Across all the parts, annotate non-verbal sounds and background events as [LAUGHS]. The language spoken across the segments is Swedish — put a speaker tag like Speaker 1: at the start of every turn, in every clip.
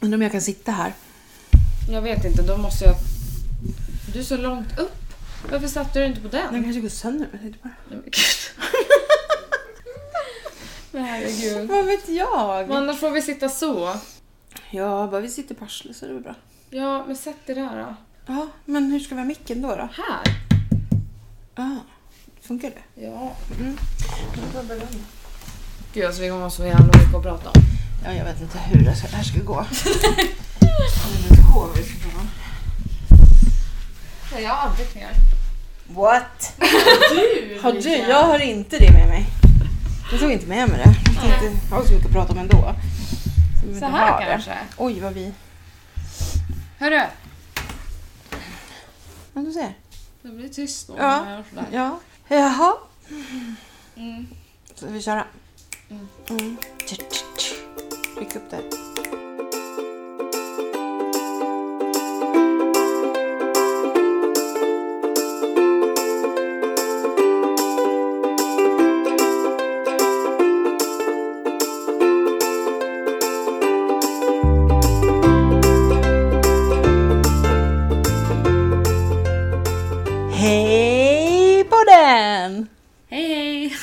Speaker 1: Undrar om jag kan sitta här.
Speaker 2: Jag vet inte, då måste jag... Du är så långt upp. Varför satte du inte på den?
Speaker 1: Den kanske går sönder om jag sitter på den.
Speaker 2: Nej, men gud. [LAUGHS] Men herregud.
Speaker 1: Vad vet jag?
Speaker 2: Men annars får vi sitta så.
Speaker 1: Ja, bara vi sitter på arslet så är det väl bra.
Speaker 2: Ja, men sätt dig där då.
Speaker 1: Ja, men hur ska vi ha micken då? då?
Speaker 2: Här?
Speaker 1: Ah, funkar det?
Speaker 2: Ja.
Speaker 1: Mm.
Speaker 2: Gud, alltså vi kommer ha så jävla mycket att prata om.
Speaker 1: Ja, jag vet inte hur det så- det här [LAUGHS] ska gå. Det är en påver som kommer.
Speaker 2: Nej, jag har anteckningar.
Speaker 1: What?
Speaker 2: Du!
Speaker 1: Har du? Jag har inte det med mig. Jag tog inte med mig det. Jag tänkte inte ha så mycket att prata om ändå. Så, vi
Speaker 2: Så
Speaker 1: inte har
Speaker 2: här
Speaker 1: det.
Speaker 2: kanske?
Speaker 1: Oj, vad vi...
Speaker 2: Hörru!
Speaker 1: Ja, du ser.
Speaker 2: Det blir tyst då.
Speaker 1: Ja.
Speaker 2: när jag gör sådär.
Speaker 1: Ja. Jaha.
Speaker 2: Mm.
Speaker 1: Ska vi köra?
Speaker 2: Mm.
Speaker 1: Mm. Tch, tch, tch. Tryck upp det. Hej på den!
Speaker 2: Hej hej! [LAUGHS]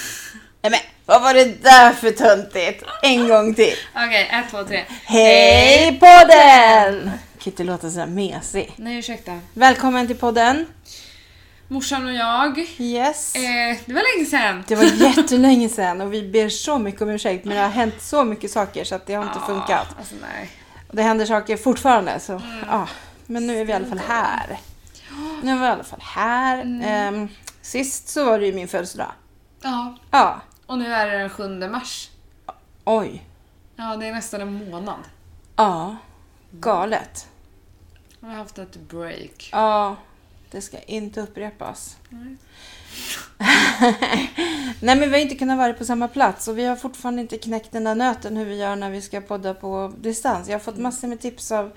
Speaker 1: Nej men vad var det där för töntigt? En gång till.
Speaker 2: Okej, ett, två, tre.
Speaker 1: Hej podden! Kan inte låta sådär mesig.
Speaker 2: Nej, ursäkta.
Speaker 1: Välkommen till podden.
Speaker 2: Morsan och jag.
Speaker 1: Yes.
Speaker 2: Eh, det var länge sedan.
Speaker 1: Det var jättelänge sedan och vi ber så mycket om ursäkt men det har hänt så mycket saker så att det har inte
Speaker 2: Ja,
Speaker 1: funkat.
Speaker 2: Alltså nej.
Speaker 1: Och det händer saker fortfarande så ja. Men nu är vi i alla fall här. Nu är vi i alla fall här. Ehm, sist så var det ju min födelsedag.
Speaker 2: Ja.
Speaker 1: Ja.
Speaker 2: Och nu är det den 7 mars.
Speaker 1: Oj.
Speaker 2: Ja, det är nästan en månad.
Speaker 1: Ja. Galet.
Speaker 2: Har vi haft ett break.
Speaker 1: Ja. Det ska inte upprepas. [LAUGHS]
Speaker 2: Nej.
Speaker 1: Nej men vi har inte kunnat vara på samma plats och vi har fortfarande inte knäckt den där nöten hur vi gör när vi ska podda på distans. Jag har fått massor med tips av,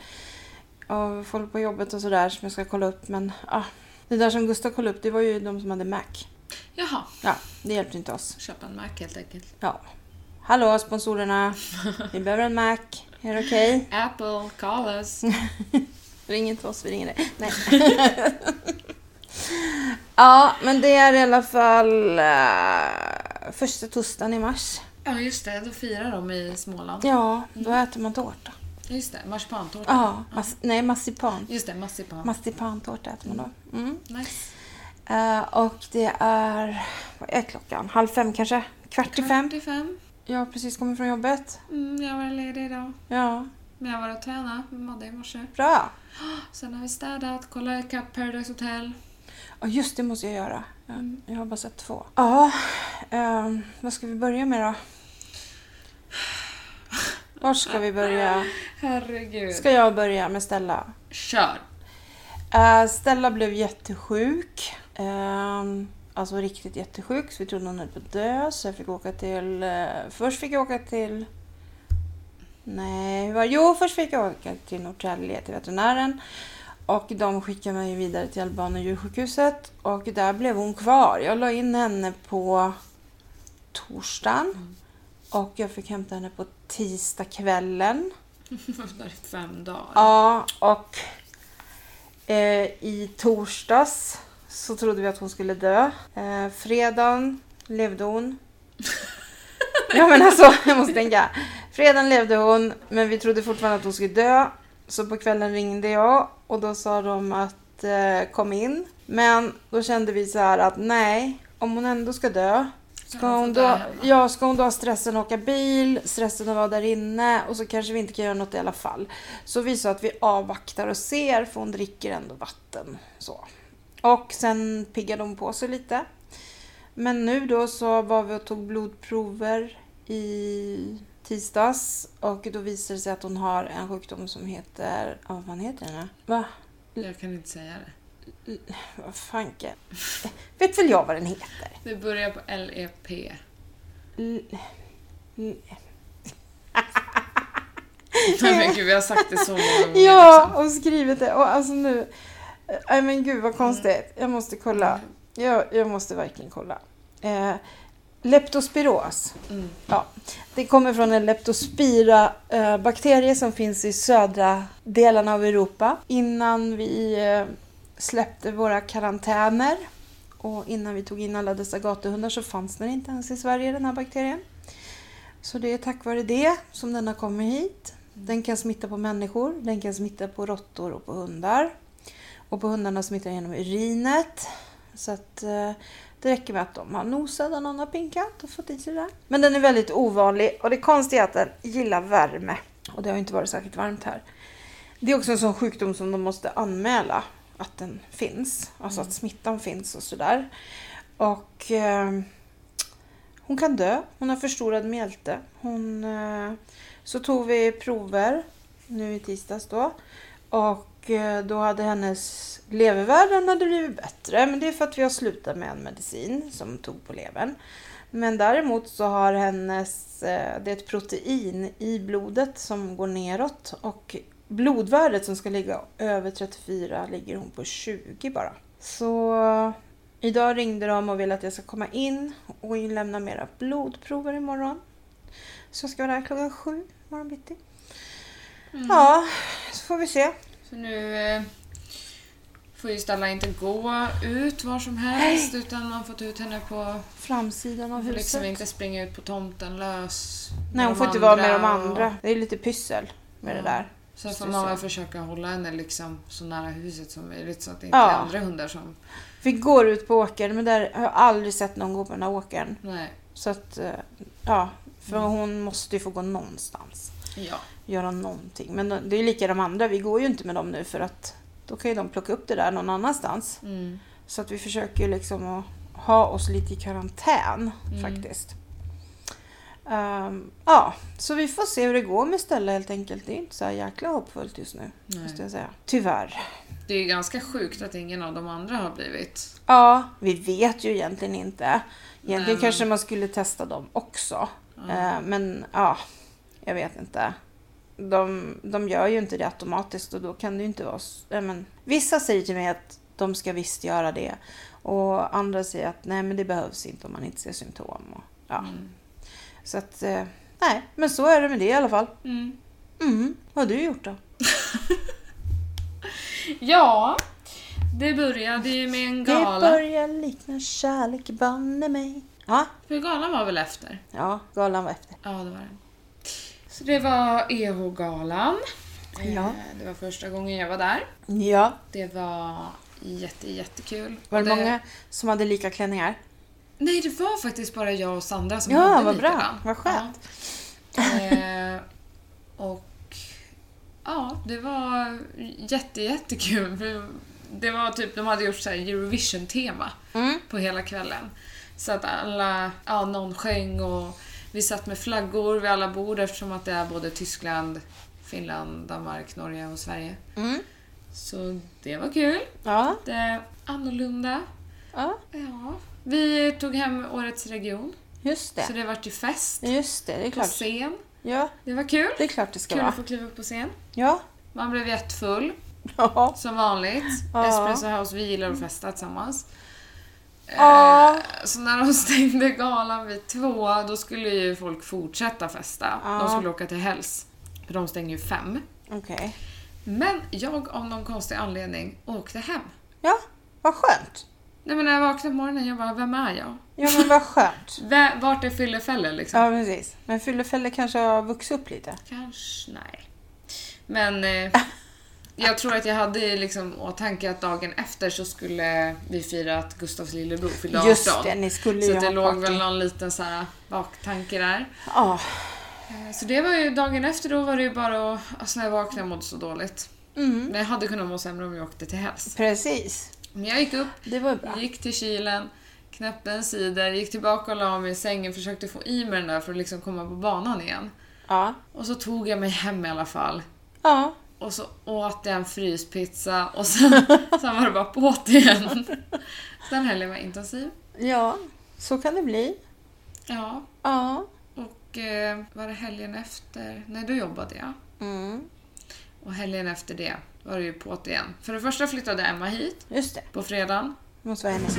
Speaker 1: av folk på jobbet och sådär som jag ska kolla upp men ah, det där som Gustav kollade upp det var ju de som hade Mac.
Speaker 2: Jaha,
Speaker 1: Ja, det hjälpte inte oss.
Speaker 2: köpa en Mac helt enkelt.
Speaker 1: Ja. Hallå sponsorerna, vi behöver en Mac. Är det okej?
Speaker 2: Apple, call
Speaker 1: [LAUGHS]
Speaker 2: us.
Speaker 1: Ring inte oss, vi ringer dig. Nej. [LAUGHS] ja, men det är i alla fall eh, första torsdagen i mars.
Speaker 2: Ja, just det. Då firar de i Småland.
Speaker 1: Ja, då äter man tårta.
Speaker 2: Ja, Just det, marsipantårta.
Speaker 1: Ja, mas- nej marsipan.
Speaker 2: Just det, marsipan.
Speaker 1: Marsipantårta äter man då. Mm.
Speaker 2: Nice.
Speaker 1: Eh, och det är, vad är klockan? Halv fem kanske? Kvart i fem?
Speaker 2: 45.
Speaker 1: Jag har precis kommit från jobbet.
Speaker 2: Mm, jag var ledig idag.
Speaker 1: Ja,
Speaker 2: Men jag var och tränade med Madde i morse.
Speaker 1: bra.
Speaker 2: Sen har vi städat, kollat ikapp Paradise Hotel.
Speaker 1: Ja, just det måste jag göra. Ja, Jag har bara sett två. Ja, ehm, vad ska vi börja med då? Var ska vi börja?
Speaker 2: Herregud.
Speaker 1: Ska jag börja med Stella?
Speaker 2: Kör!
Speaker 1: Eh, Stella blev jättesjuk. Ehm, alltså riktigt jättesjuk, så vi trodde hon höll på att dö. Så jag fick åka till... eh, först fick jag åka till... Nej, hur var det? Jo, först fick jag åka till Norrtälje, till veterinären. Och de skickade mig vidare till Alban och djursjukhuset. Och där blev hon kvar. Jag la in henne på torsdagen. Och jag fick hämta henne på tisdagskvällen.
Speaker 2: Öppnar i fem dagar.
Speaker 1: Ja, och eh, i torsdags så trodde vi att hon skulle dö. Eh, fredagen levde hon. ja men alltså, jag måste tänka. Fredagen levde hon, men vi trodde fortfarande att hon skulle dö. Så på kvällen ringde jag och då sa de att eh, kom in. Men då kände vi så här att nej, om hon ändå ska dö Ska
Speaker 2: hon
Speaker 1: hon,
Speaker 2: få
Speaker 1: då,
Speaker 2: dö hemma?
Speaker 1: ja, ska hon då ha stressen att åka bil, stressen att vara där inne och så kanske vi inte kan göra något i alla fall. Så vi sa att vi avvaktar och ser för hon dricker ändå vatten. Så. Och sen piggade hon på sig lite. Men nu då så var vi och tog blodprover i tisdags och då visade det sig att hon har en sjukdom som heter, ja, vad fan heter den? här? Va?
Speaker 2: Jag kan inte säga det.
Speaker 1: Vad fanken? Vet väl jag vad den heter?
Speaker 2: Det börjar på E LEP.
Speaker 1: [LAUGHS] L- L-
Speaker 2: Nej men gud, vi har sagt det så många gånger.
Speaker 1: [LAUGHS] Ja, och skrivit det. Och alltså nu... Nej men gud vad konstigt. Jag måste kolla. Jag, jag måste verkligen kolla. Eh, Leptospiros.
Speaker 2: Mm.
Speaker 1: Ja, det kommer från en leptospira-bakterie som finns i södra delarna av Europa. Innan vi eh, släppte våra karantäner och innan vi tog in alla dessa gatuhundar så fanns den inte ens i Sverige, den här bakterien. Så det är tack vare det som den har kommit hit. Den kan smitta på människor, den kan smitta på råttor och på hundar. Och på hundarna smittar den genom urinet. Så att... Eh, det räcker med att de har nosat och någon har pinkat och fått i sig det där. Men den är väldigt ovanlig och det konstiga är att den gillar värme. Och det har ju inte varit särskilt varmt här. Det är också en sån sjukdom som de måste anmäla att den finns. Alltså att smittan finns och sådär. Och eh, hon kan dö. Hon har förstorad mjälte. Hon, eh, så tog vi prover nu i tisdags då. Och eh, då hade hennes levervärden den hade blivit bättre. Men det är för att vi har slutat med en medicin som tog på levern. Men däremot så har hennes, eh, det är ett protein i blodet som går neråt och blodvärdet som ska ligga över 34 ligger hon på 20 bara. Så idag ringde de och ville att jag ska komma in och inlämna mera blodprover imorgon. Så jag ska vara där klockan sju imorgon bitti. Ja, så får vi se.
Speaker 2: Mm. Så nu eh, får ju Stella inte gå ut var som helst utan man får ta ut henne på...
Speaker 1: Framsidan av
Speaker 2: Hon får
Speaker 1: huset.
Speaker 2: liksom inte springa ut på tomten lös. med
Speaker 1: Nej, hon
Speaker 2: de
Speaker 1: får inte vara med de
Speaker 2: och-
Speaker 1: andra. Det är lite pyssel med det
Speaker 2: Ja.
Speaker 1: där.
Speaker 2: Sen
Speaker 1: Just
Speaker 2: får
Speaker 1: det,
Speaker 2: man väl
Speaker 1: så.
Speaker 2: försöka hålla henne liksom så nära huset som möjligt så att det inte
Speaker 1: Ja.
Speaker 2: är andra hundar som...
Speaker 1: Vi
Speaker 2: Mm.
Speaker 1: går ut på åkern, men där har jag aldrig sett någon gå på den här åkern.
Speaker 2: Nej.
Speaker 1: Så att, eh, ja. För
Speaker 2: Mm.
Speaker 1: hon måste ju få gå någonstans.
Speaker 2: Ja.
Speaker 1: Göra någonting. Men de- det är ju lika de andra, vi går ju inte med dem nu för att då kan ju de plocka upp det där någon annanstans.
Speaker 2: Mm.
Speaker 1: Så att vi försöker ju liksom att ha oss lite i karantän
Speaker 2: Mm.
Speaker 1: faktiskt. Ehm, ja, så vi får se hur det går med Stella helt enkelt. Det är inte så här jäkla hoppfullt just nu. Måste
Speaker 2: Nej.
Speaker 1: jag säga. Tyvärr.
Speaker 2: Det är ju ganska sjukt att ingen av de andra har blivit.
Speaker 1: Ja, vi vet ju egentligen inte. Egentligen
Speaker 2: Nej.
Speaker 1: kanske man skulle testa dem också.
Speaker 2: Ja.
Speaker 1: Eh, Men ja, jag vet inte. De, de gör ju inte det automatiskt och då kan det ju inte vara... s- ja, Men, vissa säger till mig att de ska visst göra det och andra säger att nej men det behövs inte om man inte ser symptom. Och, ja.
Speaker 2: Mm.
Speaker 1: Så att, eh, nej, men så är det med det i alla fall.
Speaker 2: Mm.
Speaker 1: Mm. Vad har du gjort då?
Speaker 2: Ja, det började ju med en
Speaker 1: Det
Speaker 2: gala.
Speaker 1: börjar likna kärlek, banne mig. Ja,
Speaker 2: För galan var väl efter?
Speaker 1: ja, galan var efter.
Speaker 2: Ja, det var den. Så det var EH-galan.
Speaker 1: Ja.
Speaker 2: Eh, Det var första gången jag var där.
Speaker 1: Ja,
Speaker 2: Det var jätte, jättekul.
Speaker 1: Var det,
Speaker 2: Och
Speaker 1: många som hade lika klänningar?
Speaker 2: Nej, det var faktiskt bara jag och Sandra som
Speaker 1: Ja,
Speaker 2: hade
Speaker 1: vad bra.
Speaker 2: likadan.
Speaker 1: Vad skönt.
Speaker 2: Ja. Eh, och ja, det var jätte, jättekul. För Det var typ, de hade gjort så här Eurovision-tema
Speaker 1: Mm.
Speaker 2: på hela kvällen. Så att alla, ja, någon sjöng och vi satt med flaggor vid alla bord eftersom att det är både Tyskland, Finland, Danmark, Norge och Sverige.
Speaker 1: Mm.
Speaker 2: Så det var kul.
Speaker 1: Ja.
Speaker 2: Det annorlunda.
Speaker 1: ja,
Speaker 2: Ja. Vi tog hem årets region.
Speaker 1: just
Speaker 2: Så
Speaker 1: det.
Speaker 2: det vart ju fest
Speaker 1: Just det, det är
Speaker 2: på
Speaker 1: klart.
Speaker 2: scen.
Speaker 1: Ja,
Speaker 2: Det var kul.
Speaker 1: det är klart det ska
Speaker 2: Kul
Speaker 1: vara.
Speaker 2: att få kliva upp på scen.
Speaker 1: Ja.
Speaker 2: Man blev jättefull,
Speaker 1: [LAUGHS] Ja.
Speaker 2: som vanligt.
Speaker 1: Ja.
Speaker 2: Espresso House, vi gillar att festa tillsammans.
Speaker 1: Ja.
Speaker 2: Eh, Så när de [LAUGHS] stängde galan vid två, då skulle ju folk fortsätta festa.
Speaker 1: Ja.
Speaker 2: De skulle åka till Hells, för de stänger ju fem.
Speaker 1: Okej.
Speaker 2: Men jag av någon konstig anledning åkte hem.
Speaker 1: Ja, vad skönt.
Speaker 2: Nej men när jag vaknade på morgonen, jag bara, vem är jag?
Speaker 1: Ja, men vad [LAUGHS] skönt.
Speaker 2: V- vart är fyllefällor liksom?
Speaker 1: Ja, precis. Men fyllefällor kanske har vuxit upp lite.
Speaker 2: Kanske, nej. Men
Speaker 1: [LAUGHS]
Speaker 2: eh, jag tror att jag hade i liksom åtanke att dagen efter så skulle vi fira att Gustavs lillebror fyllde 18.
Speaker 1: Just det, ni skulle
Speaker 2: så
Speaker 1: ju
Speaker 2: att det
Speaker 1: ha
Speaker 2: låg
Speaker 1: party.
Speaker 2: väl någon liten så här baktanke där.
Speaker 1: Ja.
Speaker 2: Eh, Så det var ju dagen efter då var det ju bara att, alltså när jag vaknade jag mådde så dåligt.
Speaker 1: Mm.
Speaker 2: Men jag hade kunnat må sämre om jag åkte till Hells.
Speaker 1: Precis.
Speaker 2: Men jag gick upp,
Speaker 1: Det var bra.
Speaker 2: gick till kylen, knäppte en cider, gick tillbaka och la mig i sängen, försökte få i mig den där för att liksom komma på banan igen.
Speaker 1: Ja.
Speaker 2: Och så tog jag mig hem i alla fall.
Speaker 1: Ja.
Speaker 2: Och så åt jag en fryspizza och sen, sen var det bara på igen. Den helgen var intensiv.
Speaker 1: Ja, så kan det bli.
Speaker 2: Ja,
Speaker 1: Ja.
Speaker 2: och eh, var det helgen efter? Nej, då jobbade jag.
Speaker 1: Mm.
Speaker 2: Och helgen efter det var det ju på igen. För det första flyttade Emma hit
Speaker 1: Just det.
Speaker 2: på fredagen.
Speaker 1: Det måste vara hennes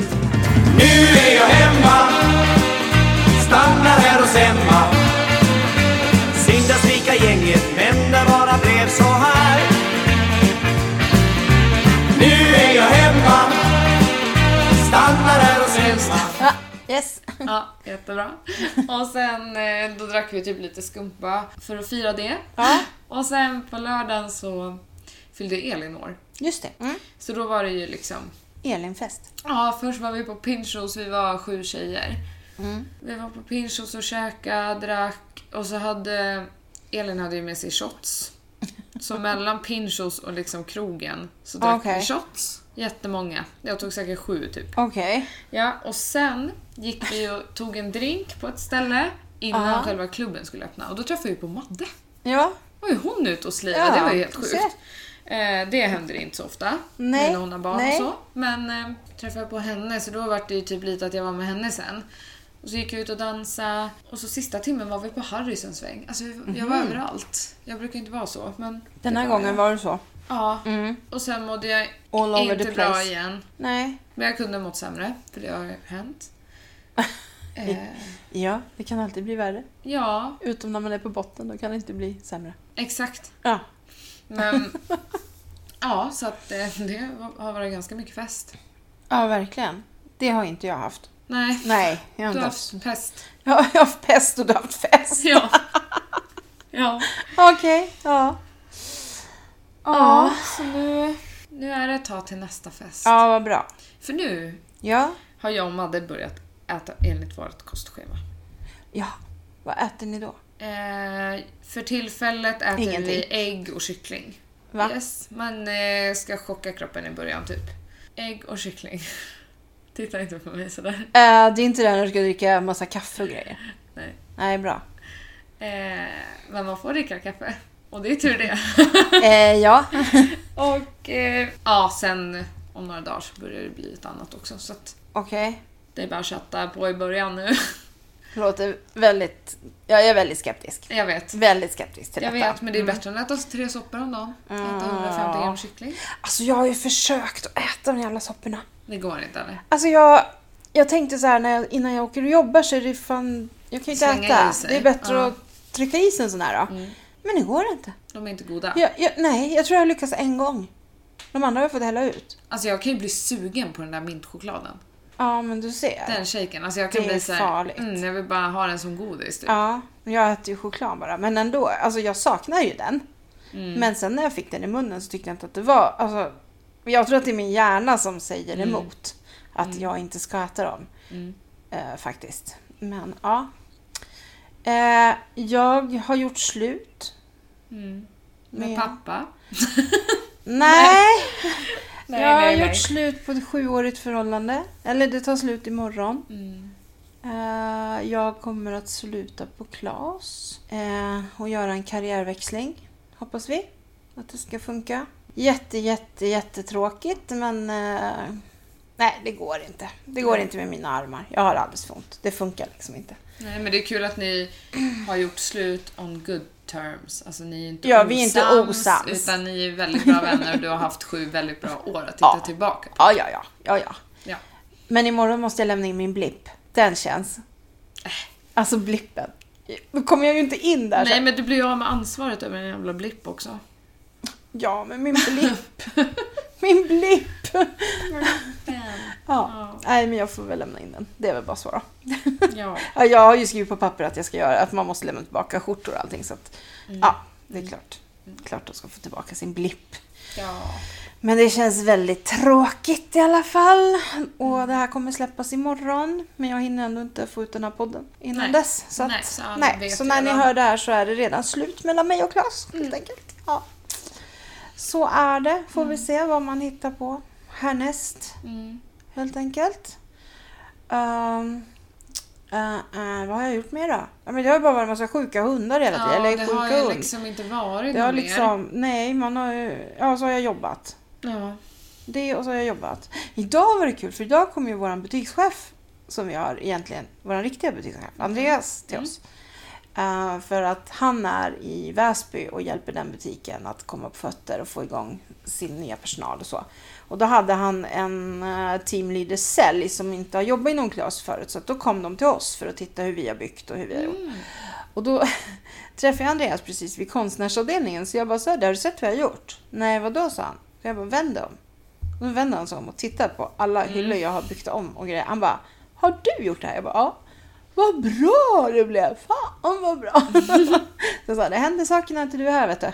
Speaker 3: Nu är jag hemma stannar här hos Emma Synd att svika gänget men det bara blev så här Nu är jag hemma Stannar här hos Emma
Speaker 1: Ja, yes. [LAUGHS]
Speaker 2: Ja, jättebra. Och sen eh, då drack vi typ lite skumpa för att fira det.
Speaker 1: Ja,
Speaker 2: Och sen på lördagen så fyllde Elin år.
Speaker 1: just det. Mm.
Speaker 2: Så då var det ju liksom
Speaker 1: Elinfest.
Speaker 2: Ja, först var vi på Pinchos, vi var sju tjejer.
Speaker 1: Mm.
Speaker 2: Vi var på Pinchos och käkade, drack och så hade Elin hade ju med sig shots.
Speaker 1: [LAUGHS]
Speaker 2: Så mellan Pinchos och liksom krogen så drack
Speaker 1: Okej.
Speaker 2: vi shots. Jättemånga. Jag tog säkert sju typ.
Speaker 1: Okej.
Speaker 2: Ja, och sen gick vi och tog en drink på ett ställe innan
Speaker 1: Ja.
Speaker 2: själva klubben skulle öppna och då träffade vi på Madde.
Speaker 1: Ja.
Speaker 2: Då var ju hon ute och slirade,
Speaker 1: Ja,
Speaker 2: det var ju helt
Speaker 1: du
Speaker 2: sjukt.
Speaker 1: ser.
Speaker 2: Eh, det händer inte så ofta
Speaker 1: Nej,
Speaker 2: nu när hon har barn
Speaker 1: nej.
Speaker 2: och så. Men eh, träffade jag på henne så då var det ju typ lite att jag var med henne sen. Och så gick jag ut och dansa och så sista timmen var vi på Harrys en sväng. Alltså vi- jag var överallt. Jag brukar inte vara så men...
Speaker 1: Mhm. Den här
Speaker 2: det
Speaker 1: gången
Speaker 2: jag.
Speaker 1: var det så.
Speaker 2: Ja.
Speaker 1: Mm.
Speaker 2: Och sen mådde jag
Speaker 1: All over
Speaker 2: inte
Speaker 1: the
Speaker 2: bra
Speaker 1: place.
Speaker 2: igen.
Speaker 1: Nej.
Speaker 2: Men jag kunde ha mått sämre för det har
Speaker 1: [LAUGHS]
Speaker 2: hänt. eh,
Speaker 1: Ja, det kan alltid bli värre.
Speaker 2: ja,
Speaker 1: Utom när man är på botten, då kan det inte bli sämre.
Speaker 2: exakt.
Speaker 1: Ja. [LAUGHS]
Speaker 2: Men... ja, så att eh, det var- har varit ganska mycket fest.
Speaker 1: Ja, verkligen. Det har inte jag haft.
Speaker 2: Nej.
Speaker 1: Nej, jag har inte
Speaker 2: Du har
Speaker 1: haft. [LAUGHS]
Speaker 2: haft pest.
Speaker 1: Jag har jag har haft pest och du har haft fest.
Speaker 2: [LAUGHS] Ja. ja.
Speaker 1: Okej, ja. Ja.
Speaker 2: så nu... Nu är det ett tag till nästa fest.
Speaker 1: Ja, vad bra.
Speaker 2: För nu
Speaker 1: Ja.
Speaker 2: har jag och Madde börjat äta enligt vårt kostschema.
Speaker 1: Ja. Vad äter ni då?
Speaker 2: Eh, för tillfället äter vi
Speaker 1: Ingenting.
Speaker 2: ägg och kyckling.
Speaker 1: Va?
Speaker 2: Yes, man eh, ska chocka kroppen i början typ. Ägg och kyckling. [LAUGHS] Titta inte på mig sådär.
Speaker 1: Eh, det är inte det när du ska dricka massa kaffe och grejer.
Speaker 2: Nej.
Speaker 1: Nej, bra.
Speaker 2: Eh, men man får dricka kaffe. Och det är tur det.
Speaker 1: Eh, ja.
Speaker 2: [LAUGHS] och eh, ja, sen om några dagar så börjar det bli ett annat också. Så att
Speaker 1: Okej.
Speaker 2: det är bara att chatta på i början nu.
Speaker 1: Låter väldigt... Ja, [LAUGHS] jag Mm. är väldigt skeptisk.
Speaker 2: jag vet.
Speaker 1: Väldigt skeptisk till
Speaker 2: Jag
Speaker 1: detta.
Speaker 2: vet, men det är bättre än att äta tre soppor om dagen. Äta 150 gram kyckling.
Speaker 1: Alltså jag har ju försökt att äta de jävla sopporna.
Speaker 2: Det går inte eller?
Speaker 1: Alltså jag, jag tänkte så här när jag, innan jag åker och jobbar så är det fan... Jag kan ju inte
Speaker 2: Slänga i
Speaker 1: äta.
Speaker 2: sig.
Speaker 1: Det är bättre
Speaker 2: Ja. Mm.
Speaker 1: att trycka i sig en sån här då. Men det går inte.
Speaker 2: De är inte goda.
Speaker 1: Jag, jag, nej, jag tror jag har lyckats en gång. De andra har jag fått hälla ut.
Speaker 2: Alltså jag kan ju bli sugen på den där mintchokladen.
Speaker 1: Ja, men du ser.
Speaker 2: Den shaken. Alltså jag kan
Speaker 1: Det är
Speaker 2: bli så här,
Speaker 1: farligt.
Speaker 2: mm, jag vill bara ha den som godis. Typ.
Speaker 1: Ja, men jag äter ju choklad bara. Men ändå, alltså jag saknar ju den.
Speaker 2: Mm.
Speaker 1: Men sen när jag fick den i munnen så tyckte jag inte att det var... Alltså, jag tror att det är min hjärna som säger
Speaker 2: Mm.
Speaker 1: emot att jag inte ska äta dem. Eh, faktiskt. Men ja. Eh, jag har gjort slut.
Speaker 2: Med
Speaker 1: Med-
Speaker 2: Mm. pappa.
Speaker 1: Nej!
Speaker 2: Nej,
Speaker 1: jag har
Speaker 2: nej,
Speaker 1: gjort
Speaker 2: nej.
Speaker 1: slut på ett sjuårigt förhållande. Eller det tar slut imorgon.
Speaker 2: Mm.
Speaker 1: Eh, jag kommer att sluta på Klas eh, och göra en karriärväxling. Hoppas vi att det ska funka. Jätte, jätte, jättetråkigt men eh, nej, det går inte. Det går inte med mina armar. Jag har alldeles för ont. Det funkar liksom inte.
Speaker 2: nej men det är kul att ni har gjort slut on good terms. Alltså ni är inte
Speaker 1: Ja, vi är inte osams.
Speaker 2: Utan ni är väldigt bra vänner och du har haft sju väldigt bra år att titta
Speaker 1: Ja.
Speaker 2: tillbaka på.
Speaker 1: Ja, ja, ja, ja, ja.
Speaker 2: Ja.
Speaker 1: Men imorgon måste jag lämna in min blipp. Den känns. Alltså blippen. Då kommer jag ju inte in där.
Speaker 2: Nej
Speaker 1: Nej.
Speaker 2: men du blir ju av med ansvaret över en jävla blipp också.
Speaker 1: Ja, men min blipp. min blipp. Ja.
Speaker 2: Ja.
Speaker 1: Nej, men jag får väl lämna in den. Det är väl bara så då. [LAUGHS]
Speaker 2: Ja.
Speaker 1: Ja, jag har ju skrivit på papper att jag ska göra, att man måste lämna tillbaka skjortor och allting så att,
Speaker 2: mm.
Speaker 1: ja, det är klart. Klart de ska få tillbaka sin blipp.
Speaker 2: ja.
Speaker 1: Men det känns väldigt tråkigt i alla fall.
Speaker 2: Mm.
Speaker 1: Och det här kommer släppas imorgon. Men jag hinner ändå inte få ut den här podden innan
Speaker 2: Nej.
Speaker 1: dess. Så, att,
Speaker 2: Nej, så alla
Speaker 1: nej.
Speaker 2: vet
Speaker 1: så när ni
Speaker 2: redan. Mm.
Speaker 1: hör det här så är det redan slut mellan mig och Klas helt enkelt. Ja. Så är det. Får vi se vad man hittar på härnäst
Speaker 2: Mm.
Speaker 1: helt enkelt. Ehm, eh, eh, vad har jag gjort mer då? Ja, men det har ju bara varit en massa sjuka hundar hela tiden.
Speaker 2: ja
Speaker 1: Eller
Speaker 2: det
Speaker 1: sjuka
Speaker 2: har ju
Speaker 1: hund.
Speaker 2: liksom inte varit
Speaker 1: det har
Speaker 2: något mer.
Speaker 1: liksom, nej, man har ju, ja så har jag jobbat.
Speaker 2: Ja.
Speaker 1: Det och så har jag jobbat. Idag var det kul för idag kom ju vår butikschef som vi har egentligen, vår riktiga butikschef, Andreas till
Speaker 2: Mm.
Speaker 1: oss. Eh, för att han är i Väsby och hjälper den butiken att komma på fötter och få igång sin nya personal och så. Och då hade han en eh, teamleader sälj som inte har jobbat inom Klas förut så att då kom de till oss för att titta hur vi har byggt och hur vi har gjort. Och då [LAUGHS] träffade jag Andreas precis vid konstnärsavdelningen så jag bara så här, har du sett vad jag har gjort? Nej, vadå sa han. Så jag bara, vänd dig om. Och då vände han sig om och tittade på alla
Speaker 2: Mm.
Speaker 1: hyllor jag har byggt om och grejer. Han bara, har du gjort det här? Jag bara, ja. Vad bra det blev! Fan vad bra!
Speaker 2: [LAUGHS]
Speaker 1: så jag sa, det händer saker när inte du är här vet du.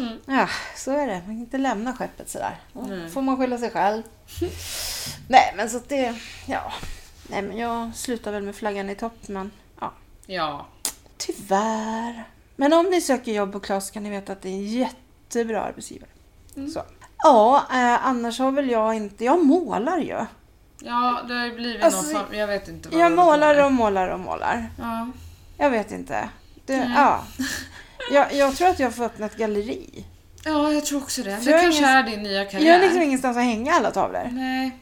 Speaker 2: Mm.
Speaker 1: Ja, så är det. Man kan inte lämna skeppet sådär. Då
Speaker 2: Nej.
Speaker 1: får man skylla sig själv. Nej, men så att det... Ja. Nej, men jag slutar väl med flaggan i topp, men ja.
Speaker 2: Ja.
Speaker 1: Tyvärr. Men om ni söker jobb på Klas kan ni veta att det är en jättebra arbetsgivare.
Speaker 2: Mm.
Speaker 1: Så. Ja, eh, annars har väl jag inte... Jag målar ju.
Speaker 2: Ja, det har ju blivit
Speaker 1: Alltså,
Speaker 2: någon form. Jag vet inte vad
Speaker 1: Jag
Speaker 2: det håller på
Speaker 1: målar
Speaker 2: med.
Speaker 1: och målar och målar.
Speaker 2: Ja.
Speaker 1: Jag vet inte. Det,
Speaker 2: Nej.
Speaker 1: ja. jag, jag tror att jag får öppna ett galleri.
Speaker 2: ja, jag tror också det.
Speaker 1: För
Speaker 2: Det
Speaker 1: jag har
Speaker 2: kanske
Speaker 1: ingen-
Speaker 2: är din nya karriär.
Speaker 1: Jag har liksom ingenstans att hänga alla tavlor.
Speaker 2: Nej.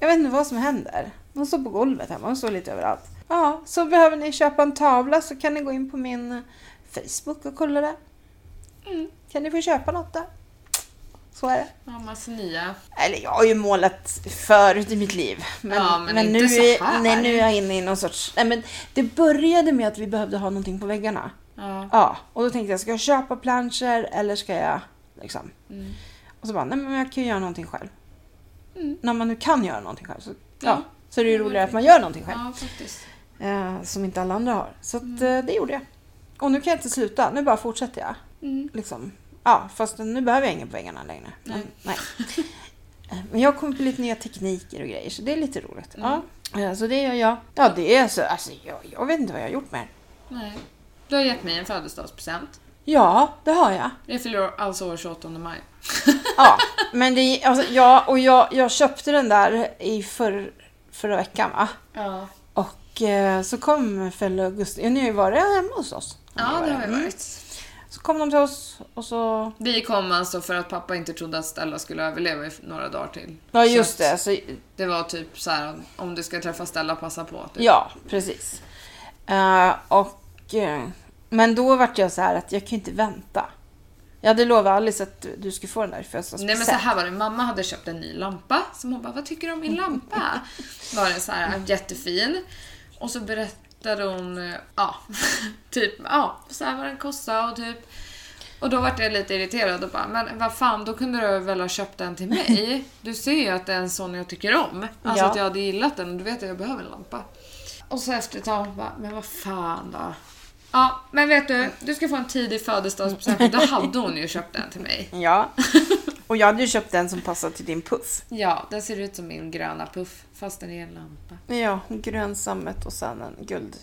Speaker 1: Jag vet inte vad som händer. De står på golvet hemma, de står lite överallt. Ja, så behöver ni köpa en tavla så kan ni gå in på min eh, Facebook och kolla det.
Speaker 2: Mm.
Speaker 1: Kan ni få köpa något där? Så är det.
Speaker 2: Ja, massa nya.
Speaker 1: Eller jag har ju målat förut i mitt liv. Men,
Speaker 2: Ja, men inte
Speaker 1: nu,
Speaker 2: så
Speaker 1: är-
Speaker 2: här.
Speaker 1: Nej, nu är jag inne i någon sorts... Nej, men det började med att vi behövde ha någonting på väggarna.
Speaker 2: Ja.
Speaker 1: Ja, och då tänkte jag, ska jag köpa planscher eller ska jag liksom...
Speaker 2: Mm.
Speaker 1: Och så bara, nej men jag kan ju göra någonting själv.
Speaker 2: Mm.
Speaker 1: När man nu kan göra någonting själv så, ja.
Speaker 2: Ja. Mm.
Speaker 1: så är det ju roligare att man gör någonting själv.
Speaker 2: Ja, Mm. faktiskt.
Speaker 1: Eh, som inte alla andra har. Så att, eh, det gjorde jag. Och nu kan jag inte sluta, nu bara fortsätter jag.
Speaker 2: Mm.
Speaker 1: Liksom. Ja, fast nu behöver jag inga på väggarna längre. Men,
Speaker 2: Nej.
Speaker 1: nej. [LAUGHS] Eh, Men jag kommer på lite nya tekniker och grejer, så det är lite roligt.
Speaker 2: Mm.
Speaker 1: Ja. Eh, Så det gör jag. Ja, det är så. Alltså, jag, jag vet inte vad jag har gjort med det.
Speaker 2: Nej. Du har gett mig en födelsedagspresent.
Speaker 1: Ja, det har jag.
Speaker 2: Jag fyller år- alltså år 28 maj.
Speaker 1: [LAUGHS] Ja, men det, alltså, ja, och jag, jag köpte den där i förr, förra veckan va?
Speaker 2: Ja.
Speaker 1: Och eh, så kom Felle och Augusti, ja, ni har ju varit hemma hos oss.
Speaker 2: Ja, det har vi
Speaker 1: Mm.
Speaker 2: varit.
Speaker 1: Så kom de till oss och så...
Speaker 2: Vi kom alltså för att pappa inte trodde att Stella skulle överleva i några dagar till.
Speaker 1: Ja just
Speaker 2: Så att
Speaker 1: det, så,
Speaker 2: Det var typ så här om du ska träffa Stella, passa på. Typ.
Speaker 1: ja precis. Eh, och, eh, men då vart jag så här att jag kan ju inte vänta. Jag hade lovat Alice att du, du skulle få den där i
Speaker 2: Nej men så
Speaker 1: födelsedagspresent.
Speaker 2: här var det, mamma hade köpt en ny lampa som hon bara, vad tycker du om min lampa? Var den så här jättefin. Och så berättade hon, eh, ja, [LAUGHS] typ, ja, så här vad den kostade och typ. Och då vart jag lite irriterad och bara, men vad fan, då kunde du väl ha köpt den till mig? Du ser ju att det är en sån jag tycker om. Alltså
Speaker 1: Ja.
Speaker 2: att jag hade gillat den och du vet att jag behöver en lampa. Och så efter ett tag bara, men vad fan då? Ja, men vet du, du ska få en tidig födelsedagspresent. Då hade hon ju köpt den till mig.
Speaker 1: Ja. [LAUGHS] Och jag hade ju köpt den som passade till din puff.
Speaker 2: Ja, den ser ut som min gröna puff fast den är en lampa.
Speaker 1: Ja, grön sammet och sen en guld...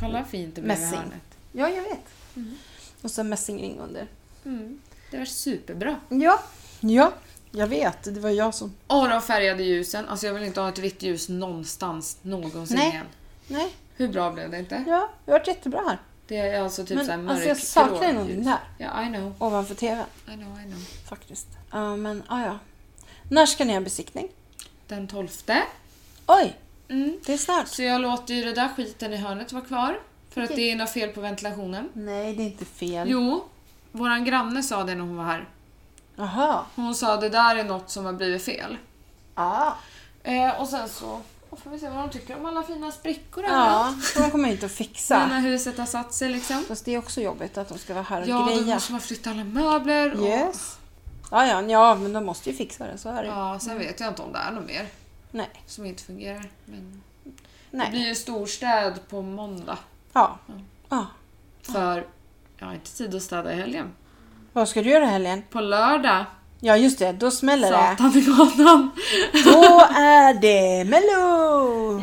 Speaker 2: Kolla vad fint det blev i
Speaker 1: Mm. Mässing.
Speaker 2: hörnet.
Speaker 1: Ja, jag vet. Mm. Och sen mässingring under.
Speaker 2: Mm. Det var superbra.
Speaker 1: Ja. Ja, jag vet. Det var jag som...
Speaker 2: Och de färgade ljusen. Alltså jag vill inte ha ett vitt ljus någonstans någonsin
Speaker 1: Nej.
Speaker 2: igen.
Speaker 1: Nej,
Speaker 2: Hur bra blev det inte?
Speaker 1: ja, det har varit jättebra här.
Speaker 2: Det är alltså typ
Speaker 1: Men,
Speaker 2: såhär mörkgrå
Speaker 1: alltså, jag saknar ju någonting
Speaker 2: ljus.
Speaker 1: där.
Speaker 2: Ja, I know.
Speaker 1: Ovanför tvn,
Speaker 2: I know, I know.
Speaker 1: faktiskt. Ja, men ah, ja, ja. När ska ni ha besiktning?
Speaker 2: Den tolfte.
Speaker 1: Oj,
Speaker 2: Mm.
Speaker 1: det är snart.
Speaker 2: Så jag låter ju det där skiten i hörnet vara kvar. För att
Speaker 1: Okej. Mm.
Speaker 2: det är något fel på ventilationen.
Speaker 1: Nej, det är inte fel.
Speaker 2: Jo, våran granne sa det när hon var här.
Speaker 1: Jaha.
Speaker 2: Hon sa det där är något som har blivit fel.
Speaker 1: Ah.
Speaker 2: Eh, och sen så och får vi se vad de tycker om alla fina sprickor
Speaker 1: Ja,
Speaker 2: överallt.
Speaker 1: så de kommer hit och
Speaker 2: Ja.
Speaker 1: fixa.
Speaker 2: När huset har satt sig liksom.
Speaker 1: Fast det är också jobbigt att de ska vara här och
Speaker 2: Ja, då
Speaker 1: greja.
Speaker 2: måste man flytta alla möbler. Och,
Speaker 1: Yes. Ja, ja, ja, men de måste ju fixa det. Så är det ju.
Speaker 2: Ja, sen vet jag inte om det är något mer
Speaker 1: Nej,
Speaker 2: som inte fungerar. Men det
Speaker 1: nej.
Speaker 2: blir ju storstäd på måndag.
Speaker 1: Ja. ja.
Speaker 2: För jag har inte tid att städa i helgen.
Speaker 1: Vad ska du göra i helgen?
Speaker 2: På lördag,
Speaker 1: Ja, just det. Då smäller det.
Speaker 2: Satan i gatan.
Speaker 1: [LAUGHS] Då är det Mello!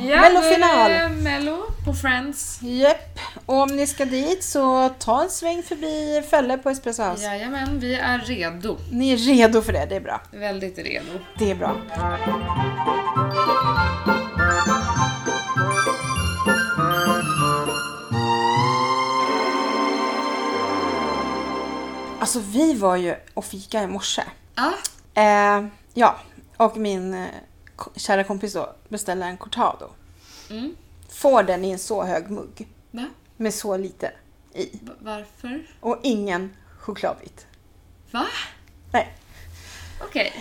Speaker 2: Ja,
Speaker 1: Mellofinal!
Speaker 2: då är det Mello på Friends.
Speaker 1: Japp, och om ni ska dit så ta en sväng förbi Fälle på Espresso House.
Speaker 2: Jajamän, vi är redo.
Speaker 1: Ni är redo för det, det är bra.
Speaker 2: Väldigt redo.
Speaker 1: Det är bra. Alltså vi var ju och fika i morse.
Speaker 2: Ja,
Speaker 1: Eh, ja, och min eh, ko- kära kompis då beställde en cortado.
Speaker 2: Mm.
Speaker 1: Får den i en så hög mugg.
Speaker 2: va?
Speaker 1: med så lite i.
Speaker 2: V- varför?
Speaker 1: Och ingen chokladbit.
Speaker 2: Va?
Speaker 1: Nej.
Speaker 2: Okej.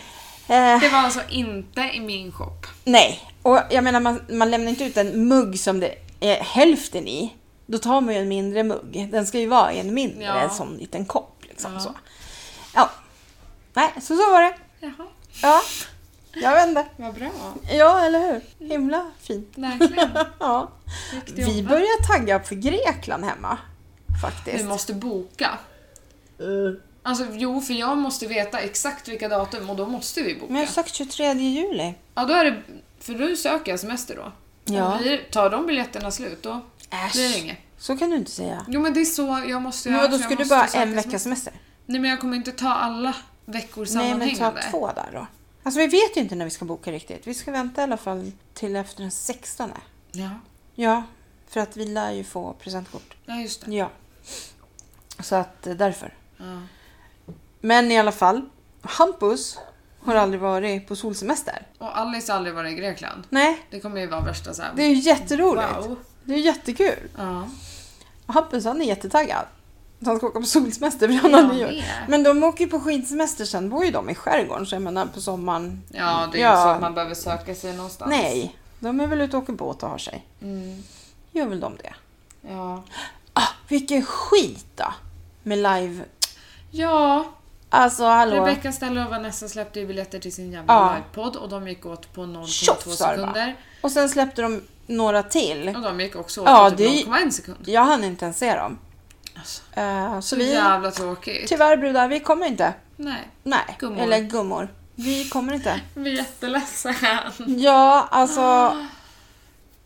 Speaker 1: Eh,
Speaker 2: Det var alltså inte i min shop.
Speaker 1: nej. Och jag menar, man, man lämnar inte ut en mugg som det är hälften i. Då tar man ju en mindre mugg. Den ska ju vara i en mindre,
Speaker 2: Ja.
Speaker 1: en sån liten kopp. Liksom,
Speaker 2: Ja.
Speaker 1: Så. ja. Nej, så så var det.
Speaker 2: Jaha.
Speaker 1: Ja. Jag vet inte.
Speaker 2: Vad bra.
Speaker 1: Ja, eller hur? Himla fint. [LAUGHS]
Speaker 2: Verkligen.
Speaker 1: Ja.
Speaker 2: Snyggt
Speaker 1: Vi
Speaker 2: jobbat.
Speaker 1: börjar tagga för Grekland hemma. Faktiskt.
Speaker 2: Vi måste boka.
Speaker 1: Eh.
Speaker 2: Alltså jo, för jag måste veta exakt vilka datum och då måste vi boka.
Speaker 1: Men jag har sagt 23 juli.
Speaker 2: Ja, då är det... För nu söker jag semester då.
Speaker 1: Ja.
Speaker 2: Och blir, tar de biljetterna slut då blir det inget.
Speaker 1: Så kan du inte säga.
Speaker 2: Jo men det är så jag måste
Speaker 1: Men
Speaker 2: göra,
Speaker 1: vadå,
Speaker 2: så jag
Speaker 1: ska du
Speaker 2: måste
Speaker 1: bara
Speaker 2: söka
Speaker 1: en vecka
Speaker 2: semester.
Speaker 1: semester?
Speaker 2: Nej men jag kommer inte ta alla veckor
Speaker 1: Nej, men ta
Speaker 2: sammanhängande.
Speaker 1: två där då. Alltså vi vet ju inte när vi ska boka riktigt. Vi ska vänta i alla fall till efter den 16.
Speaker 2: Ja,
Speaker 1: Ja, för att vi lär ju få presentkort.
Speaker 2: ja just det.
Speaker 1: Ja. Så att eh, därför.
Speaker 2: Ja.
Speaker 1: Men i alla fall, Hampus har aldrig varit på solsemester.
Speaker 2: Och Alice har aldrig varit i Grekland.
Speaker 1: Nej,
Speaker 2: Det kommer ju vara värsta såhär...
Speaker 1: det är ju jätteroligt.
Speaker 2: Wow.
Speaker 1: Det är ju jättekul.
Speaker 2: Ja.
Speaker 1: Och Hampus han är jättetaggad. Han ska åka på solsemester för han
Speaker 2: Jag
Speaker 1: har nyår.
Speaker 2: med.
Speaker 1: Men de åker ju på skidsemester sen bor ju de i skärgården så jag menar på sommaren.
Speaker 2: Ja, det är ju
Speaker 1: Ja.
Speaker 2: inte så att man behöver söka sig någonstans.
Speaker 1: Nej, de är väl ute och åker båt och har sig.
Speaker 2: Mm.
Speaker 1: Gör väl de det.
Speaker 2: Ja.
Speaker 1: Ah, vilken skit då! Med live...
Speaker 2: Ja,
Speaker 1: Alltså hallå.
Speaker 2: Rebecca Stella och Vanessa släppte ju biljetter till sin jävla
Speaker 1: Ja.
Speaker 2: livepodd och de gick åt på 0,2
Speaker 1: Tjoff, sa det bara.
Speaker 2: sekunder.
Speaker 1: Och sen släppte de några till.
Speaker 2: Och de gick också åt
Speaker 1: Ja,
Speaker 2: på
Speaker 1: det är
Speaker 2: typ
Speaker 1: ju-
Speaker 2: 0,1 sekund.
Speaker 1: Jag hann inte ens se dem.
Speaker 2: Alltså,
Speaker 1: Eh, så
Speaker 2: så
Speaker 1: vi... Typ-
Speaker 2: jävla tråkigt.
Speaker 1: Tyvärr brudar, vi kommer inte.
Speaker 2: Nej,
Speaker 1: Nej,
Speaker 2: Gummor.
Speaker 1: eller gummor. Vi kommer inte.
Speaker 2: vi är jätteledsen.
Speaker 1: Ja, alltså...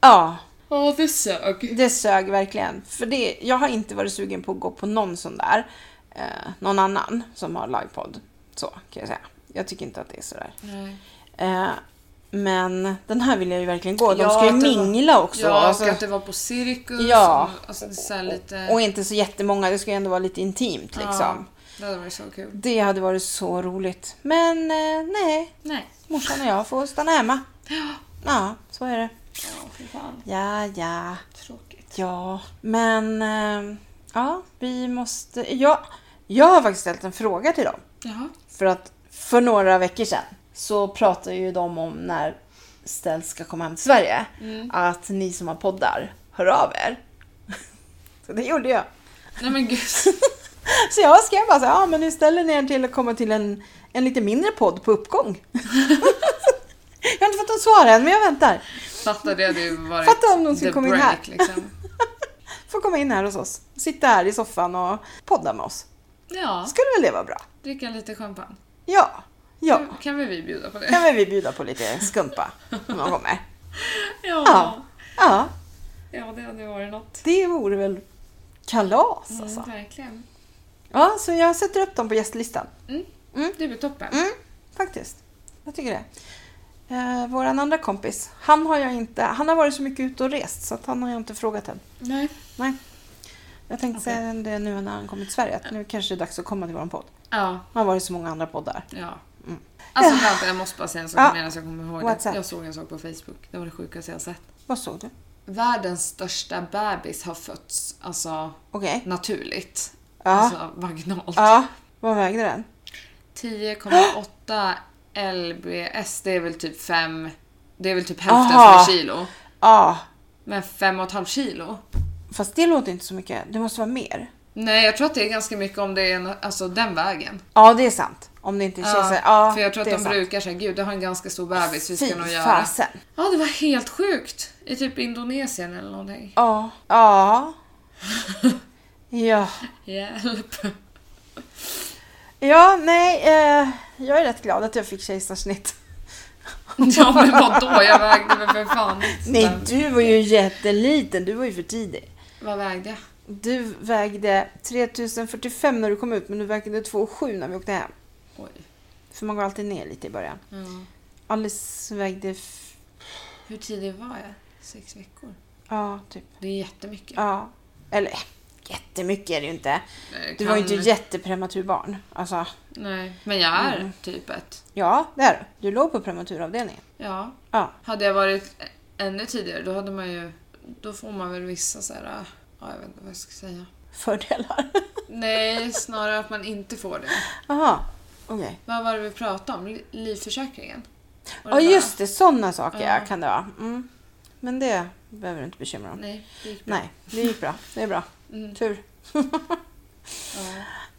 Speaker 1: Ja,
Speaker 2: Åh, det sög.
Speaker 1: det sög verkligen. För det, jag har inte varit sugen på att gå på någon sån där. Eh, någon annan som har livepodd. Så kan jag säga. Jag tycker inte att det är sådär.
Speaker 2: Nej.
Speaker 1: Eh, men den här vill jag ju verkligen gå. De
Speaker 2: Ja,
Speaker 1: ska ju
Speaker 2: att det var-
Speaker 1: mingla också.
Speaker 2: Ja,
Speaker 1: alltså,
Speaker 2: och att det var på cirkus.
Speaker 1: Ja.
Speaker 2: Och, alltså, det är så här lite...
Speaker 1: och inte så jättemånga. Det ska ju ändå vara lite intimt liksom.
Speaker 2: Ja, det hade varit så kul.
Speaker 1: Det hade varit så roligt. Men eh, nej,
Speaker 2: Nej.
Speaker 1: morsan och jag får stanna hemma. Ja, så är det.
Speaker 2: Ja, fy fan.
Speaker 1: Ja, ja.
Speaker 2: Tråkigt.
Speaker 1: Ja, men eh, ja, vi måste... Ja, jag har faktiskt ställt en fråga till dem.
Speaker 2: Jaha.
Speaker 1: För att för några veckor sedan så pratade ju de om när Ställs ska komma hem till Sverige.
Speaker 2: Mm.
Speaker 1: Att ni som har poddar, hör av er. [LAUGHS] Så det gjorde jag.
Speaker 2: Nej men gud.
Speaker 1: Så jag skrev bara så här, ja men nu ställer ni er till att komma till en, en lite mindre podd på uppgång. [LAUGHS] jag har inte fått något svar än, men jag väntar.
Speaker 2: Fatta det hade ju varit
Speaker 1: Fatta om de skulle
Speaker 2: the
Speaker 1: komma in
Speaker 2: break,
Speaker 1: här.
Speaker 2: Liksom.
Speaker 1: [LAUGHS] Får komma in här hos oss, sitta här i soffan och podda med oss.
Speaker 2: Ja,
Speaker 1: Skulle väl det vara bra?
Speaker 2: dricka lite champagne.
Speaker 1: Ja, ja.
Speaker 2: Kan- Kan väl vi bjuda på det?
Speaker 1: Kan väl vi bjuda på lite skumpa om de kommer?
Speaker 2: Ja.
Speaker 1: Ja. Ja,
Speaker 2: ja, det hade varit något.
Speaker 1: det vore väl kalas alltså.
Speaker 2: Mm, verkligen.
Speaker 1: Ja, så jag sätter upp dem på gästlistan.
Speaker 2: Mm.
Speaker 1: Mm.
Speaker 2: Det blir toppen.
Speaker 1: Mm, faktiskt. Jag tycker det. Eh, våran andra kompis, han har jag inte... Han har varit så mycket ute och rest så att han har jag inte frågat än.
Speaker 2: Nej.
Speaker 1: Jag tänkte säga det nu när han kommit till Sverige, att nu kanske det är dags att komma till våran podd.
Speaker 2: Ja,
Speaker 1: Han har varit i så många andra poddar.
Speaker 2: ja. Alltså vänta, jag måste bara säga en sak
Speaker 1: Mm. Ja.
Speaker 2: medan jag kommer ihåg
Speaker 1: What's
Speaker 2: det.
Speaker 1: up?
Speaker 2: Jag såg en sak på Facebook. Det var det sjukaste jag sett.
Speaker 1: Vad såg du?
Speaker 2: Världens största bebis har fötts, alltså
Speaker 1: Okej.
Speaker 2: naturligt.
Speaker 1: Ja.
Speaker 2: Alltså vaginalt.
Speaker 1: Ja, vad vägde den?
Speaker 2: 10,8 LBS, det är väl typ 5... Det är väl typ hälften
Speaker 1: Aha.
Speaker 2: som är kilo.
Speaker 1: Ja,
Speaker 2: Men 5,5 kilo?
Speaker 1: fast det låter inte så mycket. Det måste vara mer.
Speaker 2: Nej, jag tror att det är ganska mycket om det är en, alltså, den vägen.
Speaker 1: Ja, det är sant. Om det inte är kejsare. Ja,
Speaker 2: för jag tror att
Speaker 1: det
Speaker 2: de
Speaker 1: är sant.
Speaker 2: brukar säga, gud det har en ganska stor bebis, vi ska nog
Speaker 1: Fy
Speaker 2: göra.
Speaker 1: fasen.
Speaker 2: Ja, det var helt sjukt. I typ Indonesien eller någonting.
Speaker 1: Ja.
Speaker 2: [LAUGHS]
Speaker 1: Ja. Ja. [LAUGHS]
Speaker 2: Hjälp.
Speaker 1: Ja, nej. Eh, jag är rätt glad att jag fick kejsarsnitt.
Speaker 2: Ja men vadå, jag vägde väl för fan
Speaker 1: [LAUGHS]
Speaker 2: inte.
Speaker 1: Nej, du var ju jätteliten. Du var ju för tidig.
Speaker 2: Vad vägde jag?
Speaker 1: Du vägde 3045 när du kom ut, men du vägde 2,7 när vi åkte hem.
Speaker 2: Oj.
Speaker 1: För man går alltid ner lite i början.
Speaker 2: Ja.
Speaker 1: Alice vägde... f-
Speaker 2: Hur tidig var jag? Sex veckor?
Speaker 1: Ja, typ.
Speaker 2: Det är jättemycket.
Speaker 1: Ja. Eller, jättemycket är det ju inte.
Speaker 2: Nej,
Speaker 1: Du var ju
Speaker 2: Eh, kan-
Speaker 1: inte jätteprematur barn. Alltså,
Speaker 2: Nej, men jag är
Speaker 1: Mm.
Speaker 2: typ ett.
Speaker 1: ja, det är du. Du låg på prematuravdelningen.
Speaker 2: Ja.
Speaker 1: Ja.
Speaker 2: Hade jag varit ännu tidigare då hade man ju... Då får man väl vissa så här... Ja, jag vet inte vad jag ska säga.
Speaker 1: Fördelar.
Speaker 2: Nej, snarare att man inte får det.
Speaker 1: Jaha, okej.
Speaker 2: Vad var det vi pratade om? Li- Livförsäkringen? Var
Speaker 1: Ja,
Speaker 2: det
Speaker 1: just det. Sådana saker
Speaker 2: Ja.
Speaker 1: ja. kan det vara. Mm. Men det behöver du inte bekymra dig om.
Speaker 2: bara- Nej, det gick bra.
Speaker 1: Nej, det gick bra. Det är bra.
Speaker 2: Mm,
Speaker 1: Tur.
Speaker 2: ja.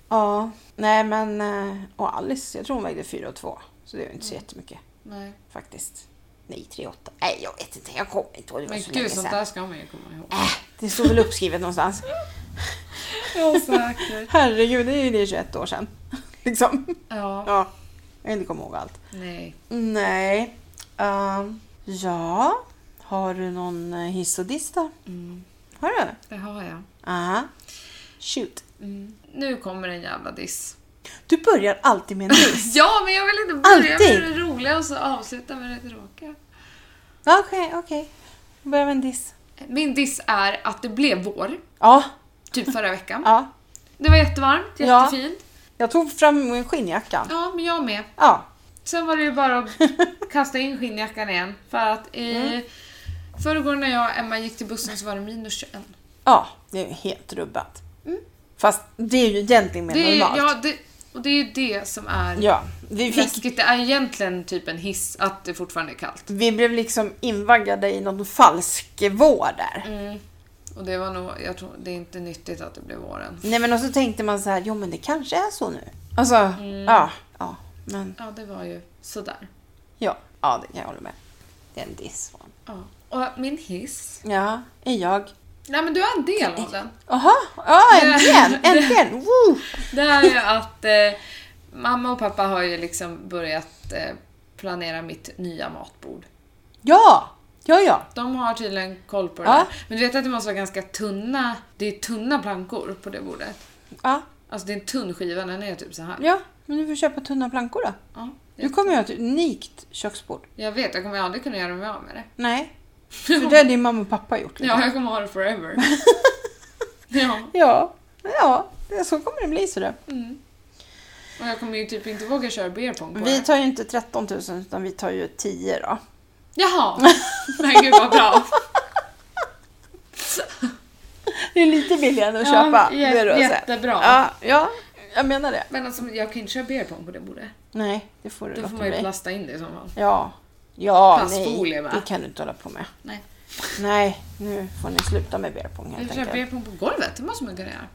Speaker 1: Ja. Nej, men... eh, Och Alice, jag tror hon vägde 4 och 2. Så det är ju inte så
Speaker 2: Mm.
Speaker 1: jättemycket
Speaker 2: Nej. faktiskt.
Speaker 1: Nej, 3 8. Nej, jag vet inte. Jag kommer inte ihåg. Det var
Speaker 2: Men
Speaker 1: så länge
Speaker 2: gud, sånt
Speaker 1: sedan.
Speaker 2: där ska man ju komma ihåg.
Speaker 1: Äh, det stod väl uppskrivet
Speaker 2: [LAUGHS]
Speaker 1: någonstans.
Speaker 2: Ja, säkert.
Speaker 1: Herregud, det är ju det 21 år sedan. [LAUGHS] Liksom.
Speaker 2: Ja,
Speaker 1: Ja. Jag kan inte komma ihåg allt.
Speaker 2: nej.
Speaker 1: Nej. Ehm, ja. Har du någon eh, hiss och diss då?
Speaker 2: Mm,
Speaker 1: Har du?
Speaker 2: det har jag.
Speaker 1: Aha. Shoot.
Speaker 2: Mm. Nu kommer en jävla diss.
Speaker 1: Du börjar alltid med en [LAUGHS] diss.
Speaker 2: Ja, men jag vill inte börja
Speaker 1: Alltid.
Speaker 2: med det roliga och så avsluta med det tråkiga.
Speaker 1: Okej, okej. Jag börjar med en diss.
Speaker 2: Min diss är att det blev vår,
Speaker 1: Ja,
Speaker 2: typ förra veckan.
Speaker 1: ja.
Speaker 2: Det var jättevarmt,
Speaker 1: Ja.
Speaker 2: jättefint.
Speaker 1: Jag tog fram skinnjackan.
Speaker 2: Ja, men jag med.
Speaker 1: Ja.
Speaker 2: Sen var det ju bara
Speaker 1: [LAUGHS]
Speaker 2: att kasta in skinnjackan igen. För att i
Speaker 1: Mm.
Speaker 2: förrgår när jag och Emma gick till bussen så var det minus 21.
Speaker 1: Ja, det är ju helt rubbat. Fast Mm. det är ju egentligen mer
Speaker 2: Det är, ju-
Speaker 1: normalt.
Speaker 2: ja, det, och det är ju det som är
Speaker 1: Ja, vi fick
Speaker 2: läskigt. Det är egentligen typ en hiss att det fortfarande är kallt.
Speaker 1: Vi blev liksom invaggade i någon falsk vår där.
Speaker 2: Och det var nog, jag tror, det är inte nyttigt att det blev våren.
Speaker 1: Nej men och så tänkte man så här, jo men det kanske är så nu. Alltså, ja. Ja, men
Speaker 2: Ja, det var ju sådär.
Speaker 1: ja. Ja, det kan jag hålla med. Det är en diss. va?
Speaker 2: Ja. Och min hiss.
Speaker 1: Ja, är jag.
Speaker 2: Nej men du har en del av den.
Speaker 1: Jaha, ja äntligen, äntligen! Woo!
Speaker 2: Det är ju att eh, mamma och pappa har ju liksom börjat eh, planera mitt nya matbord.
Speaker 1: Ja, ja, ja.
Speaker 2: De har tydligen koll på det
Speaker 1: Ja.
Speaker 2: där. Men du vet att det måste vara ganska tunna, det är tunna plankor på det bordet.
Speaker 1: Ja,
Speaker 2: Alltså det är en tunn skiva, den är typ så här.
Speaker 1: ja. men du får köpa tunna plankor då.
Speaker 2: Ja,
Speaker 1: Du kommer ju ha ett unikt köksbord.
Speaker 2: jag vet, jag kommer aldrig kunna göra mig av med det.
Speaker 1: Nej, för det har din mamma och pappa gjort. liksom.
Speaker 2: Ja, jag kommer ha det forever. [LAUGHS] ja,
Speaker 1: ja. Ja, det- så kommer det bli. Så det.
Speaker 2: Mm. och jag kommer ju typ inte våga köra beer pong på
Speaker 1: Vi
Speaker 2: det.
Speaker 1: tar ju inte 13 000 utan vi tar ju 10 då.
Speaker 2: [LAUGHS] Jaha! Men gud vad bra.
Speaker 1: Det är lite billigare att
Speaker 2: Ja,
Speaker 1: köpa.
Speaker 2: jä-
Speaker 1: det är det jag säger.
Speaker 2: jättebra.
Speaker 1: Ja, ja, jag menar det.
Speaker 2: Men alltså jag kan inte köra beer pong på det bordet.
Speaker 1: Nej, det får du
Speaker 2: Då
Speaker 1: låta
Speaker 2: får man ju
Speaker 1: bli.
Speaker 2: plasta in det i så fall.
Speaker 1: Ja. Ja,
Speaker 2: Plastfolie,
Speaker 1: nej.
Speaker 2: va?
Speaker 1: Det kan du inte hålla på med.
Speaker 2: Nej.
Speaker 1: Nej, nu får ni sluta med beer pong
Speaker 2: Jag
Speaker 1: helt
Speaker 2: kör
Speaker 1: enkelt.
Speaker 2: beer pong på golvet, det måste man kunna göra.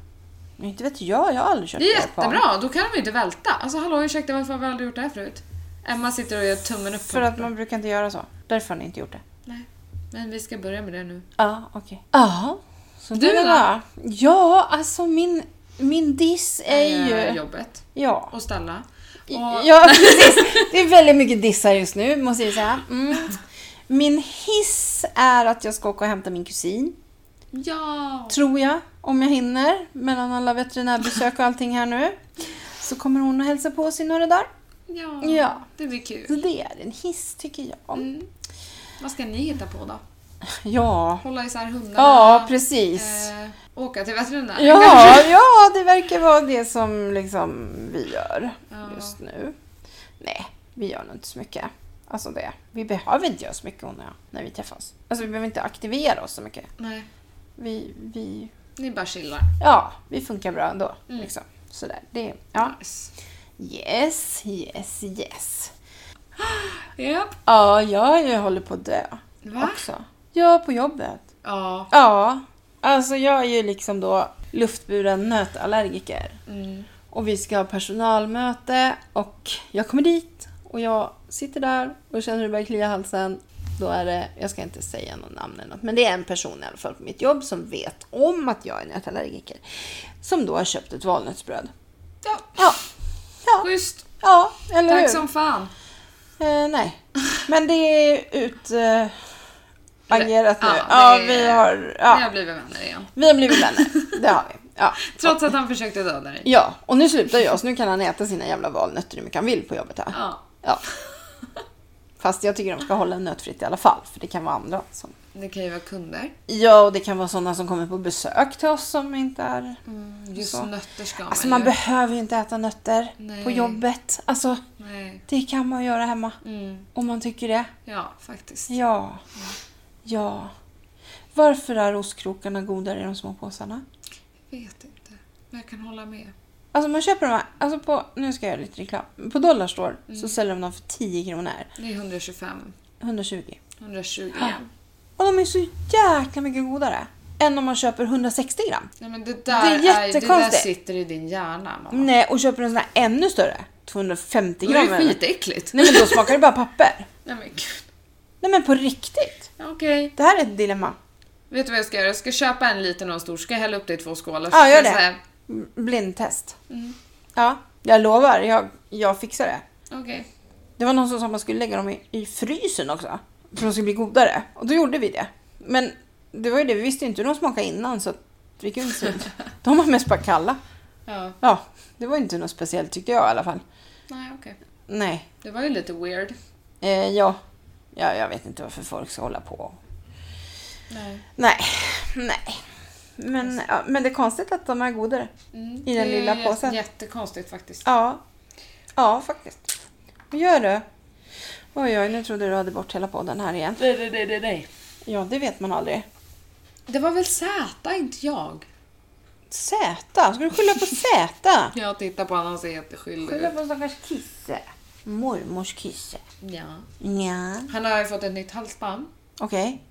Speaker 1: Men inte vet jag, jag har aldrig kört
Speaker 2: Det är
Speaker 1: beer pong.
Speaker 2: jättebra, då kan de ju inte välta. Alltså hallå ursäkta varför har vi aldrig gjort det här förut? Emma sitter och gör tummen upp. på
Speaker 1: För att
Speaker 2: den.
Speaker 1: man brukar inte göra så. Därför har ni inte gjort det.
Speaker 2: Nej, men vi ska börja med det nu.
Speaker 1: Ja, okej. Ja. Så
Speaker 2: Du
Speaker 1: du
Speaker 2: då?
Speaker 1: då? Ja, alltså min, min diss är
Speaker 2: Eh,
Speaker 1: ju...
Speaker 2: Jobbet
Speaker 1: Ja.
Speaker 2: och Stella. Och,
Speaker 1: Ja, [LAUGHS] precis. Det är väldigt mycket dissar just nu, måste jag säga. Mm. Min hiss är att jag ska åka och hämta min kusin.
Speaker 2: ja.
Speaker 1: Tror jag, om jag hinner. Mellan alla veterinärbesök och allting här nu. Så kommer hon och hälsa på oss i några dagar.
Speaker 2: ja,
Speaker 1: Ja.
Speaker 2: det blir
Speaker 1: Så
Speaker 2: kul.
Speaker 1: det är en hiss, tycker jag.
Speaker 2: Mm. Vad ska ni hitta på då?
Speaker 1: Ja.
Speaker 2: Hålla isär hundarna?
Speaker 1: Ja, precis.
Speaker 2: Eh, åka till veterinären?
Speaker 1: Ja, ja, det verkar vara det som liksom vi gör
Speaker 2: [LAUGHS] Ja.
Speaker 1: just nu. Nej, vi gör nog inte så mycket. Alltså det. Vi behöver inte göra så mycket hon och jag, när vi träffas. Alltså vi behöver inte aktivera oss så mycket.
Speaker 2: Nej,
Speaker 1: Vi, vi,
Speaker 2: ni bara chillar.
Speaker 1: ja, vi funkar bra ändå.
Speaker 2: Mm.
Speaker 1: Liksom. Sådär. Det, ja.
Speaker 2: Nice.
Speaker 1: Yes, yes, yes.
Speaker 2: Japp.
Speaker 1: Ja, jag, jag håller på att dö
Speaker 2: Va?
Speaker 1: också. Ja, på jobbet.
Speaker 2: Ja.
Speaker 1: Ja, alltså jag är ju liksom då luftburen nötallergiker.
Speaker 2: Mm.
Speaker 1: Och vi ska ha personalmöte och jag kommer dit och jag sitter där och känner hur det börjar klia i halsen. Då är det, jag ska inte säga någon namn eller något, men det är en person i alla fall på mitt jobb som vet om att jag är nötallergiker. Som då har köpt ett valnötsbröd.
Speaker 2: ja.
Speaker 1: Ja, ja,
Speaker 2: Schysst.
Speaker 1: ja eller hur?
Speaker 2: Tack som fan.
Speaker 1: Eh, nej, men det är ut... Eh, agerat nu.
Speaker 2: Ja, det
Speaker 1: Ja,
Speaker 2: är-
Speaker 1: vi har...
Speaker 2: Ni
Speaker 1: Ja,
Speaker 2: har blivit vänner igen.
Speaker 1: vi har blivit vänner. Det har vi.
Speaker 2: [LAUGHS]
Speaker 1: Ja.
Speaker 2: Trots att han försökte döda dig.
Speaker 1: ja, och nu slutar jag så nu kan han äta sina jävla valnötter hur mycket han vill på jobbet här.
Speaker 2: Ja,
Speaker 1: Ja. Fast jag tycker de ska hålla nötfritt i alla fall, för det kan vara andra som...
Speaker 2: det kan ju vara kunder.
Speaker 1: Ja, och det kan vara sådana som kommer på besök till oss som inte är...
Speaker 2: Just
Speaker 1: Så.
Speaker 2: nötter ska
Speaker 1: Alltså
Speaker 2: man
Speaker 1: man
Speaker 2: ju.
Speaker 1: behöver ju inte äta nötter
Speaker 2: Nej.
Speaker 1: på jobbet. Alltså,
Speaker 2: Nej.
Speaker 1: det kan man göra hemma
Speaker 2: Mm.
Speaker 1: om man tycker det.
Speaker 2: Ja, faktiskt.
Speaker 1: Ja. Ja. Varför är ostkrokarna godare i de små påsarna?
Speaker 2: Vet inte. Men jag kan hålla med.
Speaker 1: Alltså man köper de här, alltså på, nu ska jag göra lite reklam. På Dollarstore så säljer de dem för 10 kronor.
Speaker 2: Det är 125.
Speaker 1: 120.
Speaker 2: 120 gram.
Speaker 1: Och de är så jäkla mycket godare än om man köper 160 gram.
Speaker 2: Nej men det
Speaker 1: Det är
Speaker 2: där, är det där
Speaker 1: jättekonstigt.
Speaker 2: sitter i din hjärna mamma.
Speaker 1: Nej, och köper en sån här ännu större. 250
Speaker 2: Då är
Speaker 1: gram.
Speaker 2: det
Speaker 1: eller-
Speaker 2: skitäckligt.
Speaker 1: Nej men då smakar det bara papper.
Speaker 2: Nej men gud.
Speaker 1: Nej men på riktigt.
Speaker 2: Ja, Okej.
Speaker 1: Det här är ett dilemma.
Speaker 2: Vet du vad jag ska göra? Jag ska köpa en liten och en stor. Ska jag hälla upp det i två skålar?
Speaker 1: Ja, gör
Speaker 2: Så
Speaker 1: det.
Speaker 2: här,
Speaker 1: M- Blindtest.
Speaker 2: Mm.
Speaker 1: Ja, jag lovar. Jag, jag fixar det.
Speaker 2: Okej.
Speaker 1: Det var någon som sa att man skulle lägga dem i, i frysen också. För att de skulle bli godare. Och då gjorde vi det. Men det var ju det, vi visste ju inte hur de smakade innan så att vi kunde [LAUGHS] inte. De var mest bara kalla.
Speaker 2: Ja.
Speaker 1: Ja, det var ju inte något speciellt tyckte jag i alla fall.
Speaker 2: Nej okej.
Speaker 1: Nej,
Speaker 2: Det var ju lite weird.
Speaker 1: eh, ja. ja. Jag vet inte varför folk ska hålla på.
Speaker 2: Nej.
Speaker 1: Nej, nej. Men, ja, men det är konstigt att de är godare.
Speaker 2: Mm.
Speaker 1: I den
Speaker 2: det är
Speaker 1: lilla
Speaker 2: jä-
Speaker 1: påsen.
Speaker 2: Jättekonstigt faktiskt.
Speaker 1: Ja, ja faktiskt. Vad gör du? Oj, oj, nu trodde du hade bort hela podden här igen.
Speaker 2: Nej, nej, nej, nej, nej.
Speaker 1: Ja, det vet man aldrig.
Speaker 2: Det var väl Zäta, inte jag.
Speaker 1: Zäta? Ska du skylla på Zäta?
Speaker 2: Jag tittar på honom och ser jätteskyldig
Speaker 1: Skylla
Speaker 2: ut.
Speaker 1: på stackars Kisse. Mormors Kisse.
Speaker 2: Ja.
Speaker 1: Nja.
Speaker 2: Han har ju fått ett nytt halsband.
Speaker 1: Okej.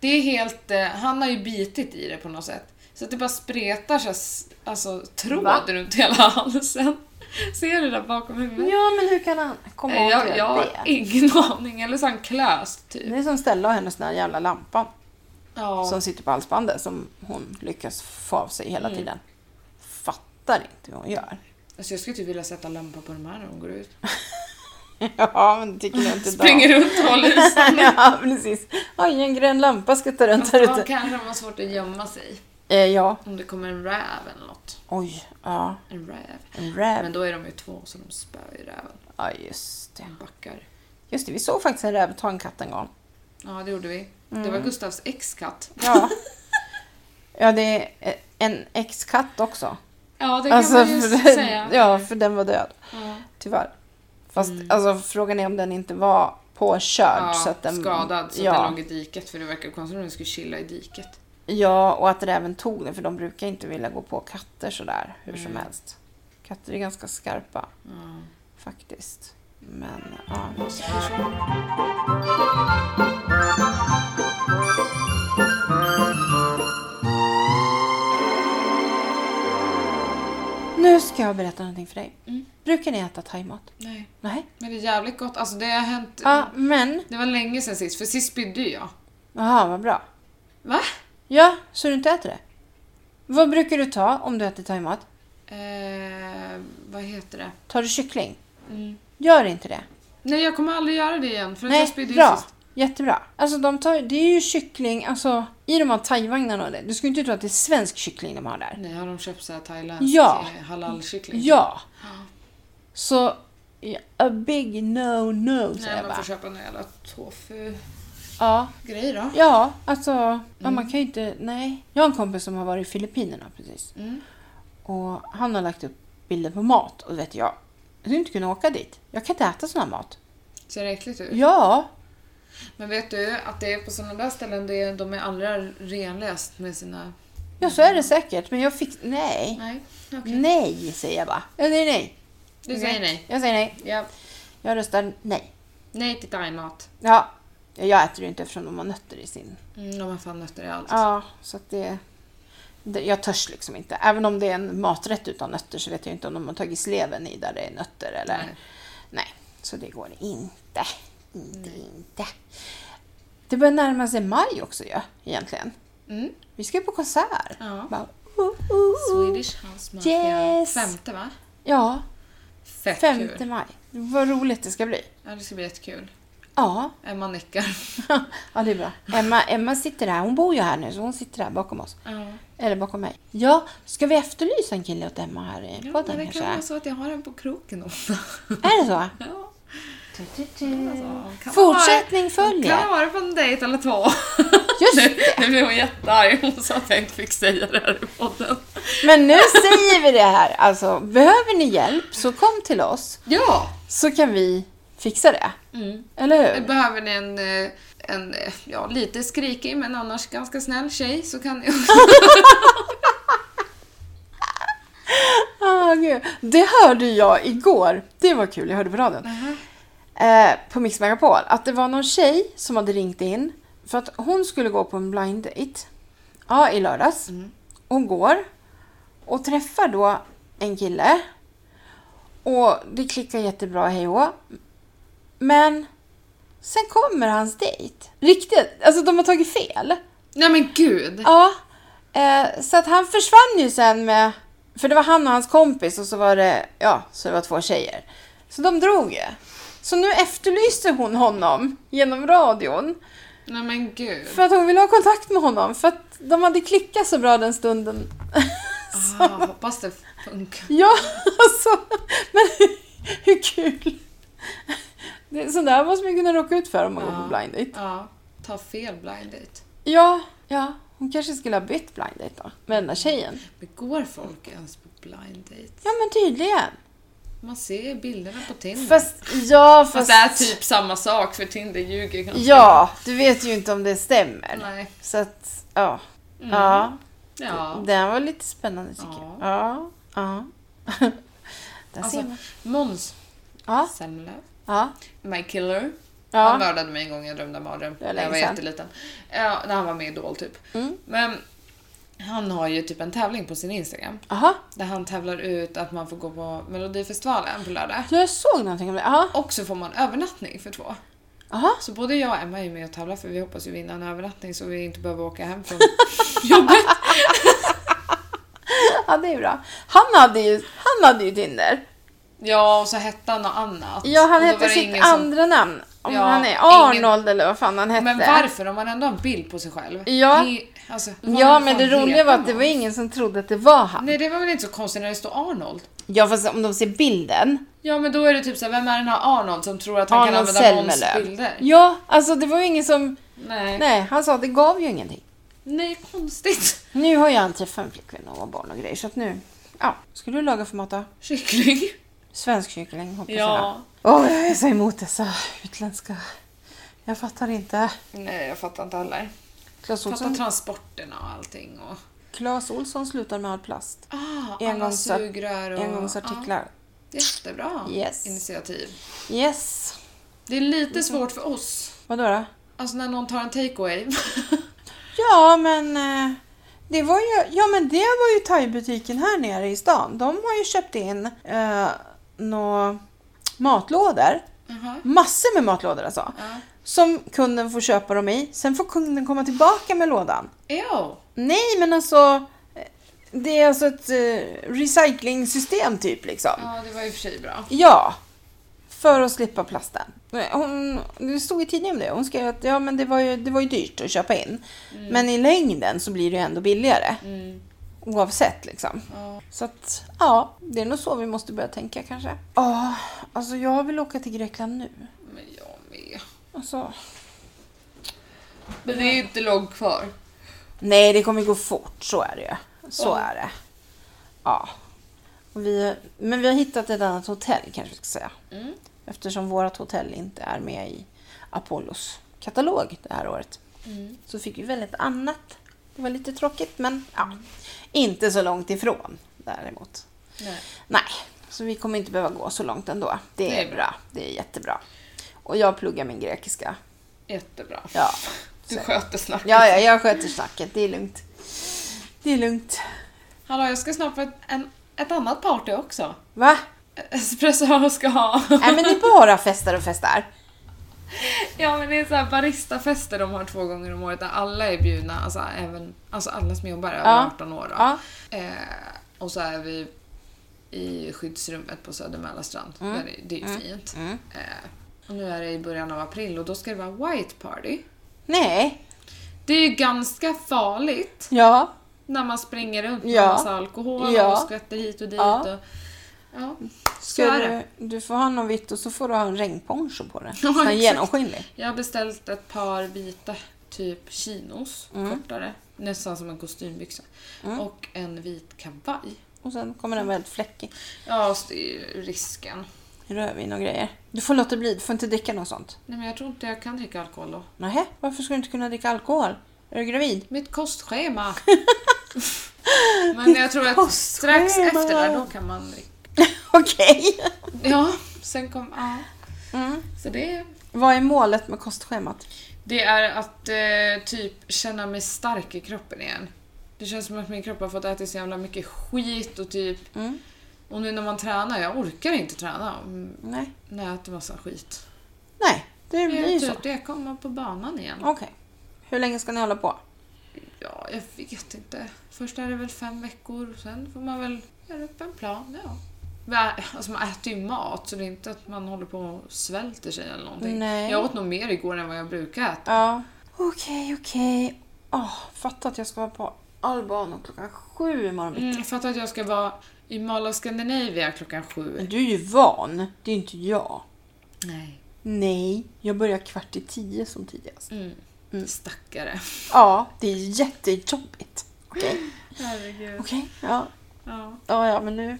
Speaker 2: Det är helt... Eh, han har ju bitit i det på något sätt. Så att det bara spretar så här, s- alltså, tråd
Speaker 1: Va?
Speaker 2: runt hela halsen. [LAUGHS] Ser du där bakom huvudet?
Speaker 1: Ja, men hur kan han komma
Speaker 2: Eh,
Speaker 1: ihåg
Speaker 2: Jag, jag har
Speaker 1: det?
Speaker 2: ingen [LAUGHS] aning. Eller så har han klöst typ.
Speaker 1: Det är som Stella och hennes den här jävla lampan
Speaker 2: Ja.
Speaker 1: som sitter på halsbandet som hon lyckas få av sig hela tiden. Fattar inte hur hon gör.
Speaker 2: Alltså, jag skulle typ vilja sätta lampa på de här när de går ut.
Speaker 1: [LAUGHS] ja, men det tycker jag inte idag.
Speaker 2: Springer runt och håller i
Speaker 1: [LAUGHS]
Speaker 2: sig. [LAUGHS]
Speaker 1: ja, precis. Oj, en grön lampa skuttar runt
Speaker 2: Fast de
Speaker 1: här
Speaker 2: har
Speaker 1: ute.
Speaker 2: kanske har svårt att gömma sig.
Speaker 1: Eh, ja.
Speaker 2: Om det kommer en räv eller något.
Speaker 1: Oj, ja.
Speaker 2: En räv.
Speaker 1: En räv.
Speaker 2: Men då är de ju två så de spöar ju räven.
Speaker 1: Ja, just det.
Speaker 2: De backar.
Speaker 1: Just det, vi såg faktiskt en räv ta en katt en gång.
Speaker 2: Ja, det gjorde vi. Det
Speaker 1: Mm.
Speaker 2: var Gustavs ex-katt.
Speaker 1: Ja. [LAUGHS] ja, det är eh, en ex-katt också.
Speaker 2: Ja, det kan man ju
Speaker 1: Alltså, för,
Speaker 2: säga.
Speaker 1: ja, för den var död.
Speaker 2: Ja.
Speaker 1: Tyvärr. Fast alltså, frågan är om den inte var påkörd.
Speaker 2: Ja,
Speaker 1: så att den,
Speaker 2: skadad så
Speaker 1: ja,
Speaker 2: att den låg i diket för det verkar konstigt om den skulle chilla i diket.
Speaker 1: Ja, och att räven tog den för de brukar inte vilja gå på katter sådär hur
Speaker 2: Mm.
Speaker 1: som helst. Katter är ganska skarpa
Speaker 2: Ja.
Speaker 1: faktiskt. Men ja, vi ska- Nu ska jag berätta någonting för dig.
Speaker 2: Mm.
Speaker 1: Brukar ni äta thaimat?
Speaker 2: Nej,
Speaker 1: Nej.
Speaker 2: men det är jävligt gott. Alltså det har hänt...
Speaker 1: Ja, men.
Speaker 2: Det var länge sedan sist, för sist spydde ju jag.
Speaker 1: Jaha, vad bra.
Speaker 2: Va?
Speaker 1: Ja, så du inte äter det? Vad brukar du ta om du äter thaimat?
Speaker 2: Eh, vad heter det?
Speaker 1: Tar du kyckling?
Speaker 2: Mm.
Speaker 1: Gör inte det.
Speaker 2: Nej, jag kommer aldrig göra det igen för att jag spydde
Speaker 1: Nej,
Speaker 2: ju
Speaker 1: bra.
Speaker 2: sist.
Speaker 1: Jättebra. Alltså de tar, det är ju kyckling, alltså i de här thaivagnarna och det. Du skulle inte tro att det är svensk kyckling de har där.
Speaker 2: Nej, har de köpt så här thailändsk
Speaker 1: Ja.
Speaker 2: eh, halalkyckling?
Speaker 1: Ja. Så, ja, a big no no säger
Speaker 2: Nej,
Speaker 1: jag
Speaker 2: man får
Speaker 1: bara.
Speaker 2: köpa någon jävla tofu-grej
Speaker 1: Ja,
Speaker 2: då.
Speaker 1: ja alltså, ja,
Speaker 2: Mm.
Speaker 1: man kan ju inte, nej. Jag har en kompis som har varit i Filippinerna precis.
Speaker 2: Mm.
Speaker 1: Och han har lagt upp bilder på mat och du vet jag, jag skulle inte kunna åka dit. Jag kan inte äta sån här mat.
Speaker 2: Ser det äckligt ut?
Speaker 1: Ja,
Speaker 2: Men vet du att det är på sådana där ställen det är, de är allra renläst med sina...
Speaker 1: ja så är det säkert. Men jag fick, nej.
Speaker 2: Nej, okej.
Speaker 1: Nej säger jag bara. Jag säger nej.
Speaker 2: Mm. Du säger nej.
Speaker 1: Jag säger nej.
Speaker 2: Ja.
Speaker 1: Jag röstar nej.
Speaker 2: Nej till thaimat.
Speaker 1: Ja, jag äter ju inte eftersom de har nötter i sin.
Speaker 2: Mm, de har fan nötter i allt.
Speaker 1: Ja, så att det, det... Jag törs liksom inte. Även om det är en maträtt utan nötter så vet jag inte om de har tagit sleven i där det är nötter eller...
Speaker 2: Nej.
Speaker 1: Nej, så det går inte. Inte, inte. Det börjar närma sig maj också ju, egentligen.
Speaker 2: Mm.
Speaker 1: Vi ska ju på konsert.
Speaker 2: Ja.
Speaker 1: Bara, oh, oh, oh.
Speaker 2: Swedish House Mafia.
Speaker 1: Yes.
Speaker 2: Femte va?
Speaker 1: Ja,
Speaker 2: Fett
Speaker 1: 5
Speaker 2: kul.
Speaker 1: maj. Vad roligt det ska bli.
Speaker 2: Ja, det ska bli jättekul.
Speaker 1: Ja, [LAUGHS]
Speaker 2: Emma nickar.
Speaker 1: ja det är bra. Emma, Emma sitter här. Hon bor ju här nu så hon sitter här bakom oss.
Speaker 2: Ja.
Speaker 1: Eller bakom mig. Ja, ska vi efterlysa en kille åt Emma här i
Speaker 2: Ja, men
Speaker 1: podden
Speaker 2: det
Speaker 1: kanske?
Speaker 2: kan vara så att jag har den på kroken ofta.
Speaker 1: Är det så?
Speaker 2: Ja.
Speaker 1: Fortsättning följer.
Speaker 2: Kan vara på en dejt eller två.
Speaker 1: Just
Speaker 2: nu, nu blev hon jättearg. Hon sa att jag inte fick säga det här i podden.
Speaker 1: Men nu säger vi det här. Alltså, behöver ni hjälp så kom till oss
Speaker 2: Ja!
Speaker 1: så kan vi fixa det.
Speaker 2: Mm.
Speaker 1: Eller hur?
Speaker 2: Behöver ni en eh, en eh, ja, lite skrikig men annars ganska snäll tjej så kan jag...
Speaker 1: Ah, gud. Det hörde jag igår. Det var kul, jag hörde på radion. Eh, på Mix Megapol. Att det var någon tjej som hade ringt in för att hon skulle gå på en blind date. Ja, i lördags. Hon går och träffar då en kille. Och det klickar jättebra, hej och hå. Men sen kommer hans dejt. Riktigt, alltså de har tagit fel.
Speaker 2: [LAUGHS] Nej men gud!
Speaker 1: Ja, eh, så att han försvann ju sen med... För det var han och hans kompis och så var det, ja, så det var två tjejer. Så de drog ju. Så nu efterlyser hon honom genom radion
Speaker 2: Nej men gud.
Speaker 1: för att hon ville ha kontakt med honom för att de hade klickat så bra den stunden.
Speaker 2: Ah, hoppas det funkar.
Speaker 1: Ja, [LAUGHS] alltså, men [LAUGHS] hur kul! Det- Sånt där måste man ju kunna råka ut för om man går på blind date.
Speaker 2: Ja, ta fel blind date.
Speaker 1: Ja, ja, hon kanske skulle ha bytt blind date då, med den där tjejen.
Speaker 2: Men går folk ens på blind date?
Speaker 1: Ja, men tydligen.
Speaker 2: Man ser bilderna på Tinder. Mm. Fast,
Speaker 1: Fast, ja, fast...
Speaker 2: det är typ samma sak för Tinder ljuger ganska
Speaker 1: Ja, du vet ju inte om det stämmer.
Speaker 2: Nej. Mm.
Speaker 1: Så att, ja. Ja,
Speaker 2: Ja.
Speaker 1: den var lite spännande tycker
Speaker 2: Ja.
Speaker 1: jag. Ja. Ja. [LAUGHS] Där ser
Speaker 2: Alltså,
Speaker 1: man.
Speaker 2: Måns
Speaker 1: Ja,
Speaker 2: Zelmerlöw,
Speaker 1: ja,
Speaker 2: My Killer. Han
Speaker 1: Ah. ja.
Speaker 2: mördade mig en gång jag drömde en mardröm
Speaker 1: var
Speaker 2: när jag var
Speaker 1: länge sedan.
Speaker 2: jätteliten. Ja, när han var med i Idol typ.
Speaker 1: Mm.
Speaker 2: Men han har ju typ en tävling på sin Instagram
Speaker 1: Aha,
Speaker 2: där han tävlar ut att man får gå på Melodifestivalen på lördag.
Speaker 1: jag såg någonting om det. Aha,
Speaker 2: Och så får man övernattning för två.
Speaker 1: aha.
Speaker 2: Så både jag och Emma är med och tävlar för vi hoppas ju vinna en övernattning så vi inte behöver åka
Speaker 1: [LAUGHS]
Speaker 2: hem från jobbet.
Speaker 1: Ja, det är bra. Han hade ju, han hade ju Tinder.
Speaker 2: Ja, och så hette han något annat.
Speaker 1: Ja, han
Speaker 2: Och då var
Speaker 1: hette
Speaker 2: det
Speaker 1: sitt
Speaker 2: ingen som-
Speaker 1: andra namn. Om
Speaker 2: Ja,
Speaker 1: han är
Speaker 2: ingen-
Speaker 1: Arnold eller vad fan han hette.
Speaker 2: Men varför? Om man ändå har en bild på sig själv.
Speaker 1: Ja.
Speaker 2: He, alltså, vad
Speaker 1: Ja,
Speaker 2: fan
Speaker 1: men det
Speaker 2: heter
Speaker 1: roliga var att det
Speaker 2: man?
Speaker 1: var ingen som trodde att det var han.
Speaker 2: Nej, det var väl inte så konstigt när det står Arnold?
Speaker 1: Ja, fast om de ser bilden.
Speaker 2: Ja, men då är det typ såhär, vem är den här Arnold som tror att han
Speaker 1: Arnold
Speaker 2: kan använda Måns
Speaker 1: Zelmerlöw.
Speaker 2: bilder?
Speaker 1: Ja, alltså det var ju ingen som...
Speaker 2: Nej. Nej.
Speaker 1: Nej, han sa att det gav ju ingenting.
Speaker 2: konstigt. [LAUGHS]
Speaker 1: Nu har jag en träffat en flickvän och barn och grejer så att nu... Ja. Ska du laga för mat då?
Speaker 2: Kyckling.
Speaker 1: Svensk kyckling hoppas
Speaker 2: Ja.
Speaker 1: jag. Åh, jag är så emot dessa utländska. Jag fattar inte.
Speaker 2: Nej, jag fattar inte heller.
Speaker 1: Clas
Speaker 2: Fattar
Speaker 1: Olsson,
Speaker 2: transporterna och allting och...
Speaker 1: Clas Olsson slutar med all plast.
Speaker 2: Ah, alla
Speaker 1: Engångs-
Speaker 2: sugrör och...
Speaker 1: Engångsartiklar.
Speaker 2: Ah, jättebra
Speaker 1: Yes.
Speaker 2: initiativ. Mm.
Speaker 1: Yes.
Speaker 2: Det är lite svårt för oss.
Speaker 1: Vadå då?
Speaker 2: Alltså när någon tar en [LAUGHS] takeaway.
Speaker 1: Ja, men... eh, Det var ju, ja men det var ju thaibutiken här nere i stan. De har ju köpt in eh, nå matlådor.
Speaker 2: Jaha.
Speaker 1: Massor med matlådor alltså.
Speaker 2: Ja.
Speaker 1: Som kunden får köpa dem i. Sen får kunden komma tillbaka med lådan.
Speaker 2: Ew.
Speaker 1: Nej, men alltså. eh, Det är alltså ett eh, recyclingsystem typ liksom.
Speaker 2: Ja, det var ju i och för sig bra.
Speaker 1: Ja. För att slippa plasten. Eh, Hon, det stod i tidningen om det. Hon skrev att ja, men det, var ju, det var ju dyrt att köpa in. Men i längden så blir det ju ändå billigare.
Speaker 2: Mm.
Speaker 1: Oavsett liksom.
Speaker 2: Ja.
Speaker 1: Så att ja, det är nog så vi måste börja tänka kanske. Ja, alltså jag vill åka till Grekland nu.
Speaker 2: Men jag med.
Speaker 1: Alltså,
Speaker 2: Men det är ju inte långt kvar.
Speaker 1: Nej, det kommer gå fort. Så är det ju. Så är det. Ja. Och vi, men vi har hittat ett annat hotell kanske vi ska säga.
Speaker 2: Mm.
Speaker 1: Eftersom vårt hotell inte är med i Apollos katalog det här året. Så fick vi väl ett annat. Det var lite tråkigt men ja. Inte så långt ifrån däremot.
Speaker 2: Nej.
Speaker 1: Nej, så vi kommer inte behöva gå så långt ändå. Det är,
Speaker 2: Det är bra.
Speaker 1: bra. Det är jättebra. Och jag pluggar min grekiska.
Speaker 2: Jättebra.
Speaker 1: Ja.
Speaker 2: Du
Speaker 1: Så-
Speaker 2: sköter snacket.
Speaker 1: Ja, ja, jag sköter snacket. Det är lugnt. Det är lugnt.
Speaker 2: Hallå, jag ska snart på ett, en, ett annat party också.
Speaker 1: Va?
Speaker 2: Espresso
Speaker 1: [LAUGHS]
Speaker 2: ska ha.
Speaker 1: Nej men det är bara festar och festar.
Speaker 2: [LAUGHS] ja, men det är så här baristafester de har två gånger om året där alla är bjudna. Alltså, även, alltså alla som jobbar är över
Speaker 1: Ja.
Speaker 2: 18 år. Då.
Speaker 1: Ja.
Speaker 2: Eh, och så är vi i skyddsrummet på Södermälarstrand. Där det, det är ju fint.
Speaker 1: Mm.
Speaker 2: Eh, och nu är det i början av april och då ska det vara white party.
Speaker 1: Nej.
Speaker 2: Det är ju ganska farligt
Speaker 1: Ja.
Speaker 2: när man springer runt med
Speaker 1: Ja.
Speaker 2: massa alkohol
Speaker 1: Ja.
Speaker 2: och skvätter hit och dit.
Speaker 1: Ja.
Speaker 2: Och, ja. Så
Speaker 1: Ska
Speaker 2: är det.
Speaker 1: du, du får ha något vitt och så får du ha en regnponcho på dig.
Speaker 2: [LAUGHS]
Speaker 1: Sån
Speaker 2: Ja,
Speaker 1: här
Speaker 2: exakt.
Speaker 1: genomskinlig.
Speaker 2: Jag har beställt ett par vita typ chinos,
Speaker 1: Mm.
Speaker 2: kortare, nästan som en kostymbyxa. Och en vit kavaj.
Speaker 1: Och sen kommer den väldigt fläckig.
Speaker 2: Ja, så det är ju risken.
Speaker 1: rödvin och grejer. Du får låta bli, du får inte dricka något sånt.
Speaker 2: Nej men jag tror inte jag kan dricka alkohol då.
Speaker 1: Nähä, varför ska du inte kunna dricka alkohol? Är du gravid? [LAUGHS]
Speaker 2: Mitt kostschema. men jag tror att strax
Speaker 1: kostschema.
Speaker 2: efter där, då kan man dricka.
Speaker 1: Okej.
Speaker 2: Ja, sen kom... Ja.
Speaker 1: Mm.
Speaker 2: Så det,
Speaker 1: Vad är målet med kostschemat?
Speaker 2: det är att eh, typ känna mig stark i kroppen igen. Det känns som att min kropp har fått äta så jävla mycket skit och typ...
Speaker 1: Mm.
Speaker 2: Och nu när man tränar, jag orkar inte träna om
Speaker 1: Nej.
Speaker 2: när jag äter massa skit.
Speaker 1: Nej, det
Speaker 2: Det
Speaker 1: blir
Speaker 2: är
Speaker 1: ju så.
Speaker 2: typ det, komma på banan igen.
Speaker 1: Okej. Hur länge ska ni hålla på?
Speaker 2: Ja, jag vet inte. Först är det väl fem veckor och sen får man väl göra upp en plan. Ja. Men, Alltså man äter ju mat så det är inte att man håller på och svälter sig eller någonting.
Speaker 1: Nej.
Speaker 2: Jag åt nog mer igår än vad jag brukar äta.
Speaker 1: Ja. Okej, okej. Åh, fatta att jag ska vara på Albano klockan sju imorgon bitti.
Speaker 2: Mm, jag fattar att jag ska vara i Mall of Scandinavia klockan sju.
Speaker 1: Men du är ju van. Det är ju inte jag.
Speaker 2: Nej.
Speaker 1: Nej, jag börjar kvart i tio som tidigast.
Speaker 2: Mm. Stackare.
Speaker 1: Ja, det är jättejobbigt. Okej.
Speaker 2: Herregud.
Speaker 1: Okej. Ja.
Speaker 2: Ja.
Speaker 1: ja, ja, men nu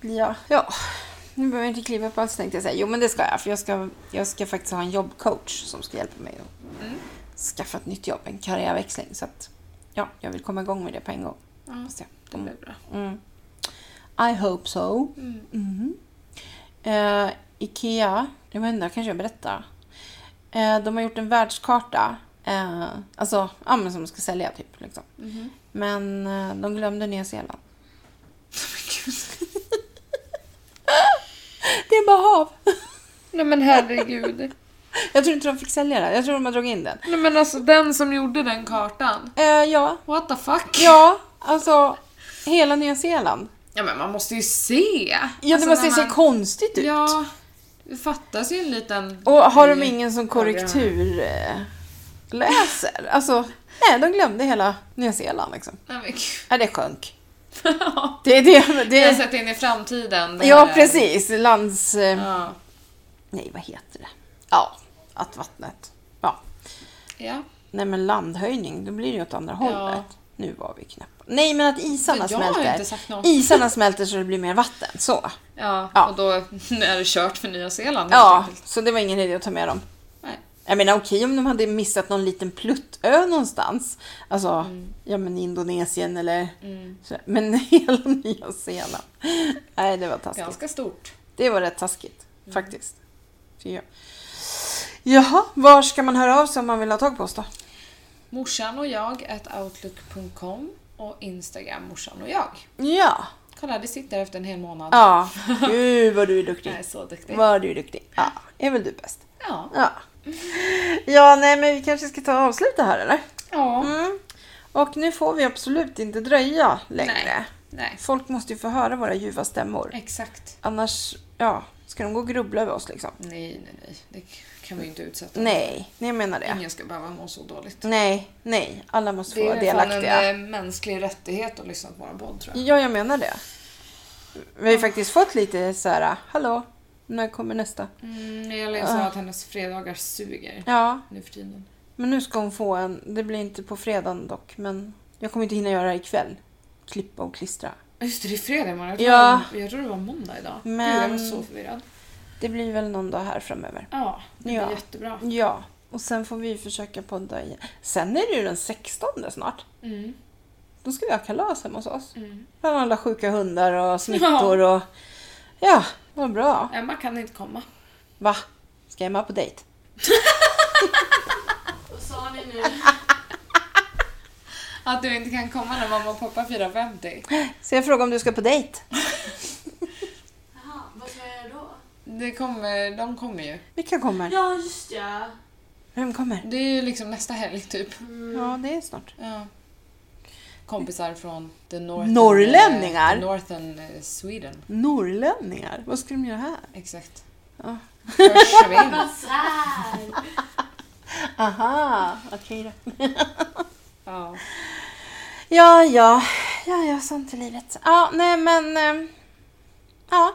Speaker 1: blir jag... Ja. Nu behöver jag inte kliva på alls tänkte jag säga. Jo, men det ska jag. För jag ska, jag ska faktiskt ha en jobbcoach som ska hjälpa mig att
Speaker 2: Mm.
Speaker 1: skaffa ett nytt jobb, en karriärväxling. Så att, ja, jag vill komma igång med det på en gång.
Speaker 2: ja,
Speaker 1: Så,
Speaker 2: det blir bra.
Speaker 1: Mm. I hope so.
Speaker 2: Mm.
Speaker 1: Mhm. Eh, Ikea, jag vet inte, kanske jag berättar. Eh, de har gjort en världskarta. Eh, alltså, ja men som de ska sälja typ. Liksom.
Speaker 2: Mhm.
Speaker 1: Men eh, de glömde Nya Zeeland. [LAUGHS] Det är bara hav.
Speaker 2: Nej men herregud.
Speaker 1: Jag tror inte de fick sälja det. Jag tror de har dragit in den.
Speaker 2: Nej men alltså den som gjorde den kartan.
Speaker 1: Eh, ja.
Speaker 2: What the fuck?
Speaker 1: Ja, alltså. Hela Nya Zeeland.
Speaker 2: Ja men man måste ju se!
Speaker 1: Ja,
Speaker 2: Alltså,
Speaker 1: det måste
Speaker 2: när
Speaker 1: ju se
Speaker 2: man-
Speaker 1: konstigt ut.
Speaker 2: Ja, det fattas ju en liten...
Speaker 1: Och har de
Speaker 2: Nej.
Speaker 1: ingen som
Speaker 2: Ja, det har de.
Speaker 1: korrektur eh, läser? Alltså, nej, de glömde hela Nya Zeeland liksom.
Speaker 2: Nej men gud. [LAUGHS]
Speaker 1: Nej, det sjönk. Det är det.
Speaker 2: Vi har
Speaker 1: det
Speaker 2: sett in i framtiden. det
Speaker 1: ja,
Speaker 2: här.
Speaker 1: precis. Lands... Eh,
Speaker 2: Ja.
Speaker 1: nej, vad heter det? Ja, att vattnet. Ja.
Speaker 2: ja.
Speaker 1: Nej, men landhöjning, då blir det ju åt andra
Speaker 2: Ja.
Speaker 1: hållet. Nu var vi knappt... Nej, men att isarna
Speaker 2: Men jag har inte
Speaker 1: smälter.
Speaker 2: sagt något.
Speaker 1: Isarna smälter så det blir mer vatten. Så.
Speaker 2: Ja,
Speaker 1: Ja.
Speaker 2: och då [LAUGHS] är det kört för Nya Zeeland helt
Speaker 1: Ja,
Speaker 2: enkelt.
Speaker 1: så det var ingen idé att ta med dem.
Speaker 2: Nej.
Speaker 1: Jag menar okej om de hade missat någon liten pluttö någonstans. Alltså, ja men Indonesien eller...
Speaker 2: Mm.
Speaker 1: Så, men [LAUGHS] hela Nya Zeeland. Nej, det var taskigt.
Speaker 2: Ganska stort.
Speaker 1: Det var rätt taskigt,
Speaker 2: Mm.
Speaker 1: faktiskt. Tycker jag. Jaha, var ska man höra av sig om man vill ha tag på oss då?
Speaker 2: Morsan och jag at outlook.com och Instagram morsan och jag.
Speaker 1: Ja.
Speaker 2: Kolla, det sitter efter en hel månad.
Speaker 1: Ja. Gud vad du är duktig.
Speaker 2: Jag är så duktig.
Speaker 1: Vad du är duktig. Ja, är väl du bäst.
Speaker 2: Ja.
Speaker 1: Ja. Ja, nej men vi kanske ska ta och avsluta här eller?
Speaker 2: ja.
Speaker 1: Mm. Och nu får vi absolut inte dröja längre.
Speaker 2: Nej. Nej,
Speaker 1: Folk måste ju få höra våra ljuva stämmor.
Speaker 2: exakt.
Speaker 1: Annars, ja, ska de gå och grubbla över oss liksom?
Speaker 2: Nej, nej, nej. Det kan vi ju inte utsätta.
Speaker 1: Nej, nej, jag menar det.
Speaker 2: Ingen ska behöva må så dåligt.
Speaker 1: Nej, nej, alla måste få
Speaker 2: Det
Speaker 1: vara
Speaker 2: är fan
Speaker 1: delaktiga.
Speaker 2: en eh, mänsklig rättighet att lyssna på vår podd tror jag.
Speaker 1: Ja, jag menar det. Vi har ju faktiskt fått lite så här, hallå, när kommer nästa?
Speaker 2: Mm, Elin
Speaker 1: Ah.
Speaker 2: sa att hennes fredagar suger
Speaker 1: Ja,
Speaker 2: nu för tiden.
Speaker 1: men nu ska hon få en, det blir inte på fredagen dock, men jag kommer inte hinna göra det ikväll. Klippa och klistra.
Speaker 2: Just det, det är fredag imorgon. Jag tror,
Speaker 1: Ja.
Speaker 2: det var- jag tror det var måndag idag.
Speaker 1: Men-
Speaker 2: Gud, jag var så förvirrad.
Speaker 1: Det blir väl någon dag här framöver.
Speaker 2: Ja, det
Speaker 1: Ja.
Speaker 2: blir jättebra.
Speaker 1: Ja, och sen får vi försöka podda igen. Sen är det ju den 16 snart.
Speaker 2: Mm,
Speaker 1: Då ska vi ha kalas hemma hos oss.
Speaker 2: mm.
Speaker 1: Bland alla sjuka hundar och smittor och... Ja, vad bra.
Speaker 2: Emma kan inte komma.
Speaker 1: Va? Ska Emma på dejt?
Speaker 4: sa ni nu?
Speaker 2: Att du inte kan komma när mamma och pappa firar 50.
Speaker 1: Så jag frågar om du ska på dejt?
Speaker 4: Jaha, vad ska jag göra då?
Speaker 2: Det kommer, de kommer ju.
Speaker 1: Vilka kommer?
Speaker 4: Ja, just ja.
Speaker 1: Vem kommer?
Speaker 2: Det är ju liksom nästa helg typ.
Speaker 1: Mm. Ja, det är snart.
Speaker 2: Ja. Kompisar från the northern,
Speaker 1: Norrlänningar?
Speaker 2: eh, the northern eh, Sweden.
Speaker 1: Norrlänningar? Vad ska de göra här?
Speaker 2: Exakt.
Speaker 1: Ja. [LAUGHS]
Speaker 2: Försvinn.
Speaker 4: Basar!
Speaker 1: Aha, okej då.
Speaker 2: Ja.
Speaker 1: Ja, ja. Ja, ja, sånt är livet. Ja, nej men... ehm, Ja.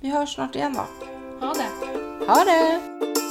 Speaker 1: Vi hörs snart igen då.
Speaker 2: Ha det.
Speaker 1: Ha det!